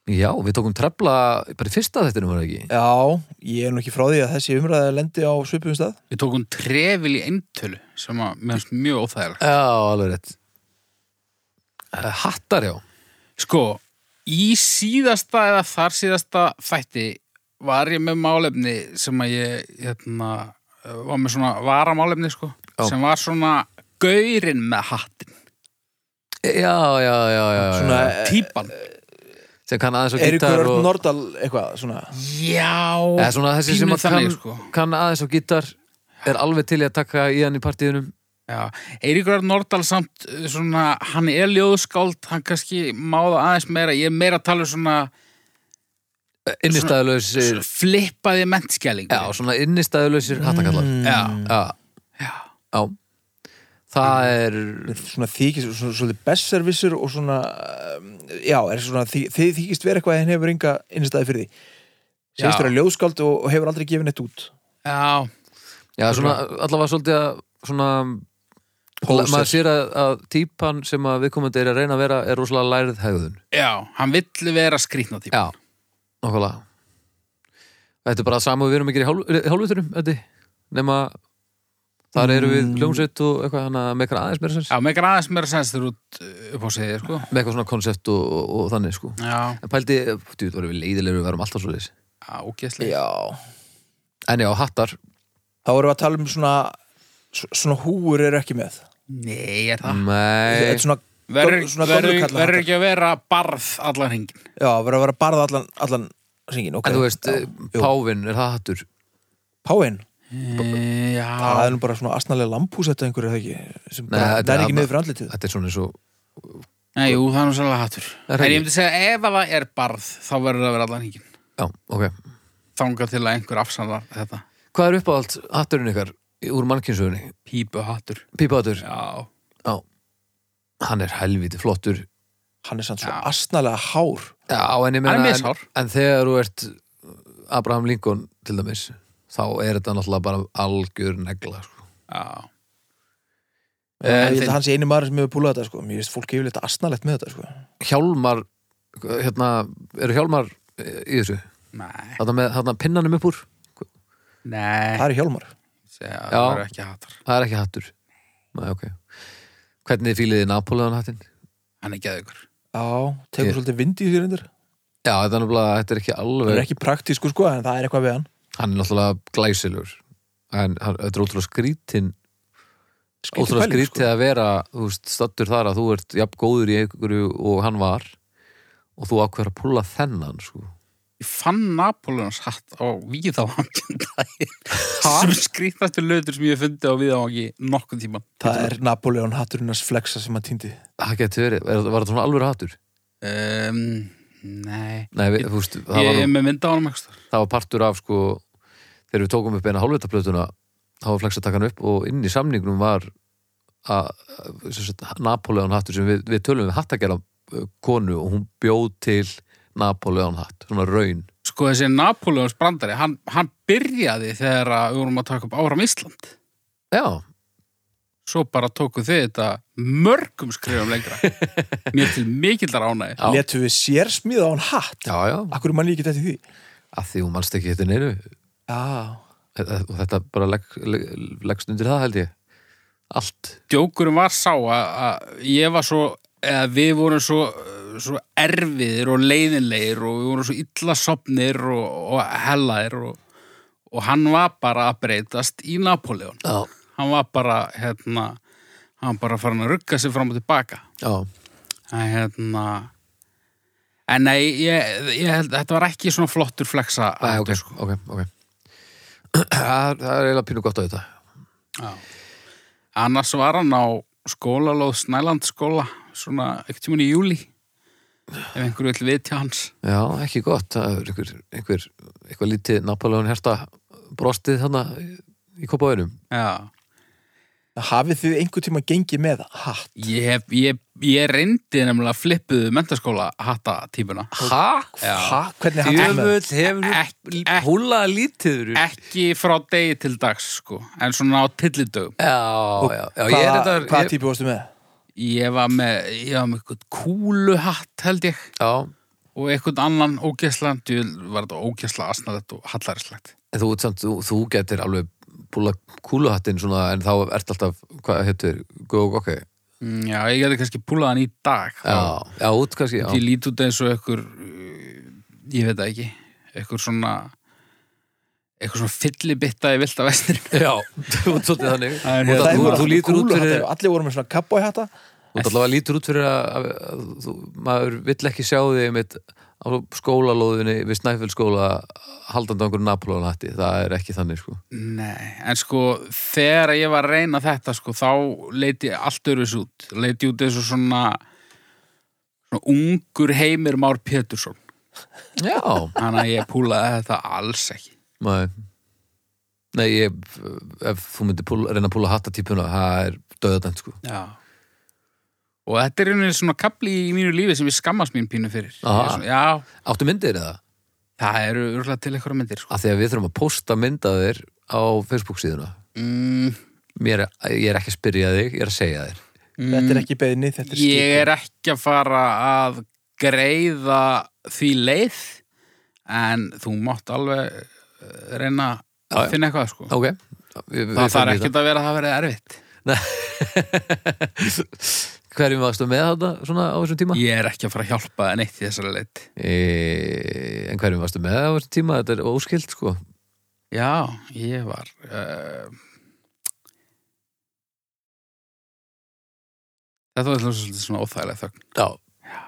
Speaker 2: Já, við tókum trefla bara í fyrsta þettinum var það ekki.
Speaker 1: Já, ég er nú ekki frá því að þessi umræði lendi á svipum stað
Speaker 3: við tókum trefil í eintölu sem að mér finnst mjög óþægilega.
Speaker 2: Já, alveg rétt. Eh, Hattar, já.
Speaker 3: Sko, í síðasta eða þar síðasta þætti var ég með málefni sem að ég hérna, var með svona varamálefni sko,
Speaker 2: Já.
Speaker 3: sem var svona gaurinn með hattin,
Speaker 2: Já, já, já, já. já.
Speaker 1: Svona, eh,
Speaker 3: típan.
Speaker 2: sem kann aðeins á
Speaker 1: Eiríkur
Speaker 2: gítar
Speaker 1: Örn
Speaker 2: og...
Speaker 1: Nordal eitthvað svona
Speaker 3: Já,
Speaker 2: Eða svona þessi sem
Speaker 3: pínu
Speaker 2: að kann,
Speaker 3: þannig, sko.
Speaker 2: kann aðeins á gítar er alveg til í að taka í hann í partíðunum
Speaker 3: Já, Eiríkur Arn Nordal samt uh, svona, hann er ljóðskáld, hann kannski máða aðeins meira, ég er meira að tala um svona
Speaker 2: innistæðulausir
Speaker 3: flippaði mentskjæling.
Speaker 2: Já, Mm. svona innistæðulausir hattakallar
Speaker 3: Já.
Speaker 2: Já,
Speaker 3: Mm. Já. Mm.
Speaker 2: já Það er
Speaker 1: svona þykist, svona svolítið besservissur og svona, um, já, er svona þi- þið þykist vera eitthvað en hefur ynga innstæði fyrir því segist
Speaker 3: Já.
Speaker 1: vera ljóðskáld og, og hefur aldrei gefið neitt út
Speaker 3: Já,
Speaker 2: Já, svona allavega svolítið að svona
Speaker 1: Póser.
Speaker 2: maður sér að, að típan sem að viðkomandi er að reyna að vera er rosalega lærið hegðun
Speaker 3: já, hann vill vera skrýtna típa.
Speaker 2: Já, nokkulega Þetta er bara sama og við erum ekki í hálf- hálfvitunum Þetta nema þar eru við hljómsveit og eitthvað hana með eitthvað aðeins meira sens
Speaker 3: Já, með aðeins meira senstur út uh, upp á segið, sko.
Speaker 2: með eitthvað svona konsept og, og, og þannig sko
Speaker 3: Já,
Speaker 2: en pældi, þú veit, vorum við leiðilegur við varum alltaf svo leis
Speaker 3: já ógeðslega.
Speaker 1: Já
Speaker 2: en já, hattar,
Speaker 1: Þá erum við að tala um svona s- svona húur eru ekki með
Speaker 3: Nei, er það.
Speaker 1: Þetta
Speaker 2: nei
Speaker 1: er svona,
Speaker 3: Mm. Verður
Speaker 1: göm- svona
Speaker 3: verður-
Speaker 1: gömlu kalla
Speaker 3: verður
Speaker 1: hattar.
Speaker 3: ekki að vera barð allan hringin.
Speaker 1: Já, verður að vera barða allan, allan ringin okay.
Speaker 2: en þú veist, eh,
Speaker 1: já, jú.
Speaker 2: pávinn, er það hattur
Speaker 1: Páin,
Speaker 3: E,
Speaker 1: það
Speaker 3: já,
Speaker 1: er nú bara svona asnalega lampús þetta einhverju er það ekki sem
Speaker 2: Nei,
Speaker 1: bara
Speaker 2: þetta er
Speaker 1: næri ekki
Speaker 2: amma-
Speaker 1: niður fyrir andlitið
Speaker 2: þetta er svona eins og
Speaker 3: Nei, jú, það er nú sérlega hattur.
Speaker 2: Er það
Speaker 3: En
Speaker 2: ekki?
Speaker 3: ég myndi segja, ef að það er barð, þá verður það að vera allan hringin.
Speaker 2: já, ok,
Speaker 3: Þanga til að einhver afsannar þetta.
Speaker 2: hvað er uppáhald hatturinn ykkar í- úr mannkynsögunni,
Speaker 3: Pípu hattur.
Speaker 2: pípahattur já.
Speaker 3: Já.
Speaker 2: hann er helviti flottur
Speaker 1: Hann er sann svo
Speaker 3: Já.
Speaker 1: asnalega hár
Speaker 2: já, en ég
Speaker 3: Hann
Speaker 2: meina,
Speaker 3: er
Speaker 2: en,
Speaker 3: mishár.
Speaker 2: en þegar þú ert uh, Abraham Lincoln til dæmis þá er þetta náttúrulega bara algjör negla sko.
Speaker 3: Já.
Speaker 2: Eh,
Speaker 1: Ég held
Speaker 3: þeim-
Speaker 1: að hann sé eini maður sem hefur púlað þetta sko Mér veist fólk hefur lítið asnalegt með þetta sko
Speaker 2: Eh. hjálmar hérna, eru hjálmar eh, í þessu
Speaker 3: Nei.
Speaker 2: þarna, með, þarna pinnanum upp úr
Speaker 3: Nei.
Speaker 1: Það er hjálmar
Speaker 3: Segja,
Speaker 2: Já.
Speaker 3: það verður ekki hattur.
Speaker 2: Það er ekki hattur Nei, ok Hvernig fíliði Napoleon hattinn?
Speaker 3: Hann er geðugur.
Speaker 1: Já, tekur
Speaker 2: Ég-
Speaker 1: svolítið vind í því reyndir
Speaker 2: Já, þetta er náttúrulega, þetta er ekki
Speaker 1: Það
Speaker 2: alveg
Speaker 1: er ekki praktísku sko, en það er eitthvað við hann
Speaker 2: Hann er náttúrulega glæsilur En hann, þetta er ótrúlega skrítinn
Speaker 1: Skrýtin
Speaker 2: ótrúlega
Speaker 1: pæling,
Speaker 3: sko.
Speaker 1: sko.
Speaker 2: skrítið að vera þú veist, stattur þar að þú ert jafn góður í einhverju og hann var og þú ákveður að púla þennan sko.
Speaker 3: Ég fann Napoleons hatt á Víðavangi um [laughs] daginn. sem skrýtnastu lötur sem ég hef fundið á Víðavangi nokkuð tíma.
Speaker 1: Það er Napoleon hatturinnars flexa sem hann týndi.
Speaker 2: það getur verið, er, var þetta svona alvöru hattur?
Speaker 3: Um, nei,
Speaker 2: Nei, við, þú veist, það,
Speaker 3: ég
Speaker 2: var,
Speaker 3: er
Speaker 2: nú-
Speaker 3: með mynda á hann ekstra.
Speaker 2: það var partur af sko, þegar við tókum upp eina hálfvitaplötuna þá var flex að taka hann upp og inn í samningnum var að, að, sem sagt, Napoleon hattur sem við, við tölum við hattagjala konu og hún bjóð til Napoleon hatt, svona raun
Speaker 3: Sko þessi Napoleons brandari, hann, hann byrjaði þegar að við vorum að taka upp Áram Ísland.
Speaker 2: Já,
Speaker 3: Svo bara tókuð þið þetta mörgum skrifum [laughs] lengra. Mér til mikillar ánægi.
Speaker 2: Já.
Speaker 1: Letu við sér smíða á hann hatt.
Speaker 2: já, já,
Speaker 1: Akkur mann ég ekki þetta í því?
Speaker 2: að því hún mannst ekki þetta neyru
Speaker 1: Já.
Speaker 2: og þetta bara legg, legg, leggst undir það held ég allt
Speaker 3: djókurum var sá að, að ég var svo, eða við vorum svo, svo erfiðir og leiðinleir og við vorum svo illa sopnir og, og hellaðir og, og hann var bara að breytast í Napoleon.
Speaker 2: já,
Speaker 3: Hann var bara, hérna, hann var bara farin að rugga sig fram og tilbaka.
Speaker 2: já,
Speaker 3: Það er hérna... En nei, ég, ég held, þetta var ekki svona flottur flexa.
Speaker 2: Æ, ok, ok, ok sko- það er það er eiginlega pínu gott á þetta
Speaker 3: Annars var hann á skólalóð Snælandsskóla svona ekkert tímun í júli ef einhverju vill vitja hans
Speaker 2: já, ekki gott, það er einhver, einhver eitthvað lítið Napoleon herta brostið þarna í kopaðurum
Speaker 3: Já,
Speaker 1: Hafið þið einhver tíma gengið með hatt?
Speaker 3: ég, hef, ég, ég reyndi nefnilega flippuðu mentaskóla hatta típuna
Speaker 2: ha?
Speaker 3: Já.
Speaker 1: Ha? Hvernig hatt er með?
Speaker 3: Ekki-
Speaker 2: hefur
Speaker 3: ekki-
Speaker 2: húlaða lítiður já,
Speaker 3: ekki frá degi til dags sko, en svona á tillidögum
Speaker 2: já, já, ég er
Speaker 1: Hvaða
Speaker 2: þetta
Speaker 1: hvað típu varstu með?
Speaker 3: ég var með, ég var með eitthvað kúluhatt held ég
Speaker 2: já,
Speaker 3: og eitthvað annan ógæslan var þetta ógæsla asnaðett og hallaríslegt
Speaker 2: en þú, ert samt, þú, þú getur alveg búla kúluhattinn svona en þá ert alltaf, hvað heitir, góð og ok
Speaker 3: Mm, Já, ég geti kannski púlað hann í dag þá
Speaker 2: já, já, út kannski já.
Speaker 3: Ég lít út eins og einhver uh, ég veit það ekki einhver svona einhver svona fyllibitta í vilt af vestir
Speaker 2: [laughs] Já, þú ert svolítið þannig
Speaker 3: Það er
Speaker 2: Þú ert
Speaker 3: hérna-
Speaker 2: að- þú-
Speaker 1: voru
Speaker 2: Þú
Speaker 1: allir
Speaker 2: lítur út
Speaker 1: kúluhatta,
Speaker 2: fyrir
Speaker 1: Allir voru með svona kabbói hatta.
Speaker 2: Þú ert allavega lítur út fyrir að, að, að þú, maður vill ekki sjá þig mitt á skólalóðinni við Snæfellskóla haldandi á einhverju Napolón hætti það er ekki þannig sko
Speaker 3: Nei, en sko þegar ég var að reyna þetta sko þá leiti ég allt öruvis út leiti út eins og svona svona ungur heimir Már Pétursson
Speaker 2: Já,
Speaker 3: þannig að ég púlaði þetta alls ekki
Speaker 2: nei Nei, ég, ef þú myndir púla, reyna að púla hattatípuna, það er döðadæmt sko
Speaker 3: Já Og þetta er einhvern veginn svona kapli í mínu lífi sem ég skammast mín pínu fyrir Ég
Speaker 2: Aha.
Speaker 3: er svona, Já,
Speaker 2: Áttu myndir eða?
Speaker 3: það eru örgulega til eitthvað myndir sko.
Speaker 2: Af því að við þurfum að posta mynda þér á Facebook síðuna
Speaker 3: mm,
Speaker 2: Mér, er- Ég er ekki að spyrja þig, ég er að segja þér
Speaker 1: Þetta er ekki beðinni, þetta er
Speaker 3: Mm. Ég
Speaker 1: skipið.
Speaker 3: er ekki að fara að greiða því leið en þú mátt alveg eh, reyna
Speaker 2: Já,
Speaker 3: að
Speaker 2: já.
Speaker 3: finna eitthvað sko
Speaker 2: Ok, við, við
Speaker 3: Það
Speaker 2: förum
Speaker 3: þarf
Speaker 2: í
Speaker 3: ekkert að vera að það verið erfitt
Speaker 2: [laughs] Hverjum varstu með þetta svona á þessum tíma?
Speaker 3: Ég er ekki að fara að hjálpa það neitt í þessari leitt
Speaker 2: E, en hverjum varstu með á þessum tíma? Þetta er óskild sko
Speaker 3: Já, ég var uh, Þetta var svolítið svona óþægilega þögn
Speaker 2: Já,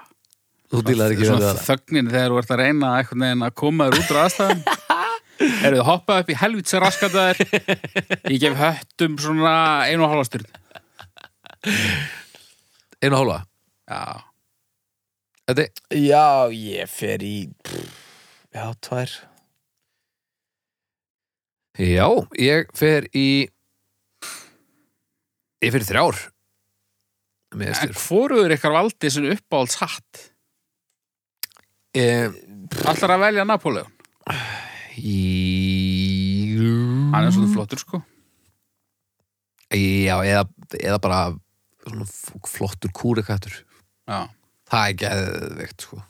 Speaker 2: þú dýlar ekki
Speaker 3: Svona
Speaker 2: verið það
Speaker 3: Þögnin þegar þú ert að reyna einhvern veginn að koma þér út úr [laughs] aðstæðan Eru þið hoppað upp í helvits að raskata þér Ég gef höttum svona einu og hálfa styrn
Speaker 2: Einu og hálfa,
Speaker 3: Já,
Speaker 2: þetta er
Speaker 1: Já, ég fer í... Pff, já, tvær.
Speaker 2: Já, ég fer í Ég fer í þrjár Mér
Speaker 3: en
Speaker 2: styr
Speaker 3: hvoruður ykkar valdi sem uppáhalds hatt
Speaker 2: e,
Speaker 3: Allar að velja Napoleon
Speaker 2: í,
Speaker 3: Hann er svolítið flottur sko
Speaker 2: Já, eða, eða bara svona f- flottur kúrikattur
Speaker 3: Já,
Speaker 2: Það er geðveikt sko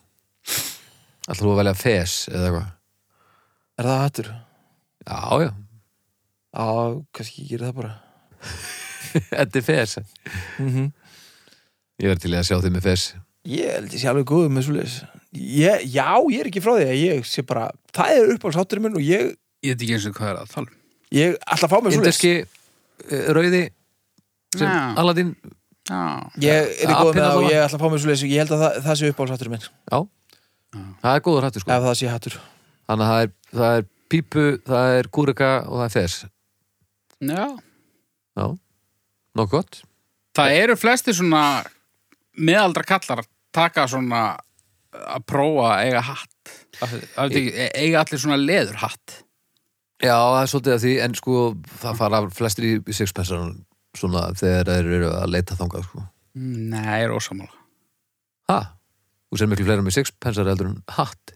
Speaker 2: Alltaf þú að velja fes eða eitthvað
Speaker 1: Er það hattur?
Speaker 2: Já, já,
Speaker 1: Já, kannski ég gerir það bara.
Speaker 2: þetta er fes
Speaker 1: Mm
Speaker 3: Mhm.
Speaker 2: Ég verð til í að sjá þig með fes
Speaker 1: Ég held ég sé alveg góður með svoleiðis. Ég, já, ég er ekki frá því að ég sé bara... Það er uppáhaldshátturinn minn og ég...
Speaker 3: ég veit ekki eins og hvað er að tala um
Speaker 1: Ég ætla að fá mér svoleiðis.
Speaker 2: Inderski, eh, rauði sem
Speaker 3: Já.
Speaker 2: Aladdin
Speaker 3: Já,
Speaker 1: Ég er í
Speaker 2: Að
Speaker 1: góð með
Speaker 2: pinna
Speaker 1: það og
Speaker 2: það.
Speaker 1: ég ætla að fá mér svo leys Ég held að það, það sé uppáhaldshattur minn
Speaker 2: Já, það er góður hattur sko
Speaker 1: Ef það sé hattur
Speaker 2: Þannig að það er, það er pípu, það er kúrika og það er þess
Speaker 3: já.
Speaker 2: Já, nokkuð gott
Speaker 3: Það eru flesti svona meðaldra kallar taka svona að prófa að eiga hatt Af því- af því e- eiga allir svona leður hatt
Speaker 2: Já, það er svolítið að því, en sko það fara flestir í sixpensan svona þegar þeir eru að leita þangað sko
Speaker 3: Nei, ég er ósamála
Speaker 2: Ha? Þú sér miklu fleira með sixpensar heldur en hatt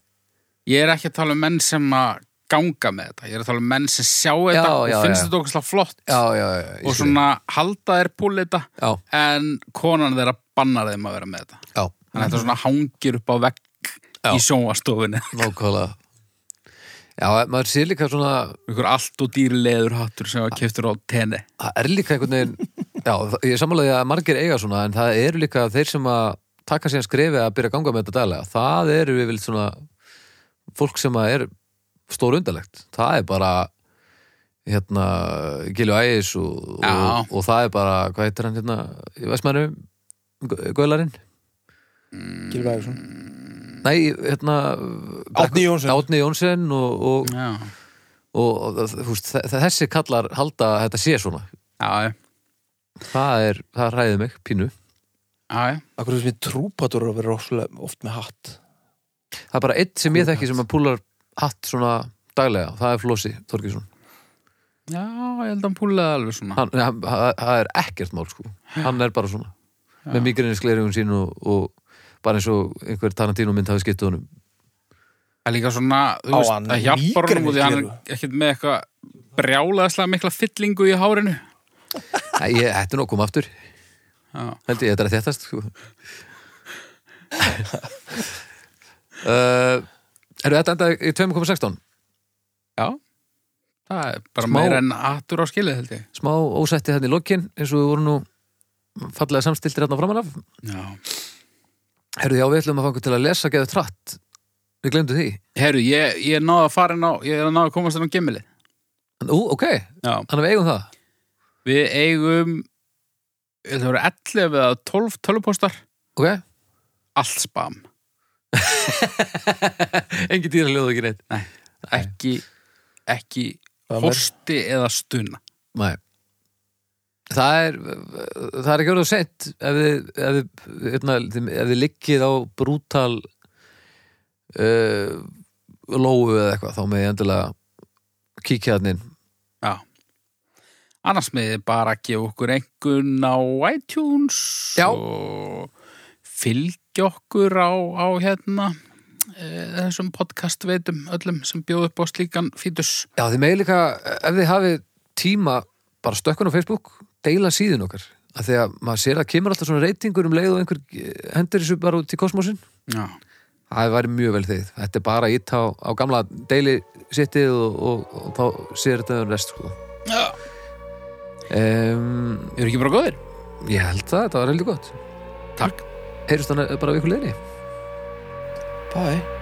Speaker 3: Ég er ekki að tala um menn sem að ganga með þetta Ég er að tala um menn sem sjá þetta og
Speaker 2: já,
Speaker 3: finnst
Speaker 2: já.
Speaker 3: þetta okkur slag flott
Speaker 2: Já, já, já, ég
Speaker 3: og
Speaker 2: skil.
Speaker 3: svona halda þeir púli þetta
Speaker 2: Já,
Speaker 3: en konan þeirra bannar þeim að vera með þetta
Speaker 2: já,
Speaker 3: Þannig að þetta svona hangir upp á vegg
Speaker 2: Já.
Speaker 3: í sjónvastofunni [laughs]
Speaker 2: nákvæmlega Já, maður sér líka svona
Speaker 3: Ykkur allt og dýr leður hattur sem að keftur á tenni
Speaker 2: það er líka einhvern veginn já, það- ég er samanlega að margir eiga svona en það eru líka þeir sem að taka síðan skrefi að byrja að ganga með þetta daglega það eru yfirleitt svona fólk sem að er stór undarlegt það er bara hérna, Gilju Ægis og,
Speaker 3: Já.
Speaker 2: og, og það er bara, hvað heitir hann hérna í Vestmænum, Gaularinn
Speaker 1: Gylfi Ævarsson.
Speaker 2: nei, hérna
Speaker 1: Árni Johnsen.
Speaker 2: Átni Jónsson og, og,
Speaker 3: Já,
Speaker 2: og, og húst, þessi kallar halda að þetta sé svona
Speaker 3: já, já,
Speaker 2: það er, það ræði mig, pínu
Speaker 3: já, já.
Speaker 1: Akkur finnst mér trúpatur að vera rosalega oft með hatt
Speaker 2: Það er bara eitt sem ég þekki sem að púlar hatt svona daglega, það er Flósi Þorgesson
Speaker 3: Já, ég held að hann púlaði alveg svona
Speaker 2: hann, hann, hann, Það er ekkert mál sko Hann er bara svona með migrinniskleirugum sín og, og bara eins og einhver Tarantino mynd hafi skiptuð honum
Speaker 3: Það er líka svona, þú
Speaker 1: Á,
Speaker 3: veist,
Speaker 1: hann
Speaker 3: það hjálpar honum og því hann
Speaker 1: mýgreniskleru.
Speaker 3: er ekkert með eitthvað brjálaðslega mikla fyllingu í hárinu
Speaker 2: Æ, ég, Þetta er nokkuð um aftur
Speaker 3: Já,
Speaker 2: held ég, þetta er að þéttast sko. [laughs] uh, Eru þetta enda í 2.16
Speaker 3: já. það er bara
Speaker 2: Smá-
Speaker 3: meira en attur á skilið held ég
Speaker 2: smá ósætti þarna í lokin eins og við vorum nú fallega samstiltir hérna framan af
Speaker 3: Já.
Speaker 2: Herðu, já, við ætlum að fanga til að lesa geðu tratt Við glemdu því
Speaker 3: Herru, ég, ég náði að fara inn á, ég er að náði að komast inn á gemmilið
Speaker 2: Ú, ok,
Speaker 3: Já,
Speaker 2: Þannig að við eigum það
Speaker 3: við eigum, það voru 11 eða 12 tölupóstar,
Speaker 2: Ok,
Speaker 3: allt spam
Speaker 2: [laughs] engin dýra ljóðu ekki neitt
Speaker 3: ekki, ekki
Speaker 1: Það var-
Speaker 3: horsti eða stuna
Speaker 2: Nei Það er, það er ekki orðið sent ef þið, ef þið, hérna, ef þið liggið á brútal uh, lóu eða eitthvað, þá með ég endilega kíkja hann inn
Speaker 3: Já. Annars með þið bara að gefa okkur einhvern á iTunes
Speaker 2: Já.
Speaker 3: og fylgja okkur á, á hérna e, þessum podcastveitum öllum sem bjóð upp á slíkan fítus.
Speaker 2: Já, þið með líka, ef þið hafið tíma bara stökkun á Facebook, deila síðin okkar að því að maður sér að kemur alltaf svona reytingur um leið og einhver eh, hendur þessu bara út í kosmosin
Speaker 3: Já.
Speaker 2: Það væri mjög vel þið. Þetta er bara ít á, á gamla deili sittið og, og, og þá sér þetta um rest sko.
Speaker 3: Já.
Speaker 2: Um,
Speaker 3: Eru ekki bara góðir?
Speaker 2: ég held það, þetta var heldur gott.
Speaker 3: Takk.
Speaker 2: Heyrjumst þannig bara við ykkur leiðinni.
Speaker 1: Bye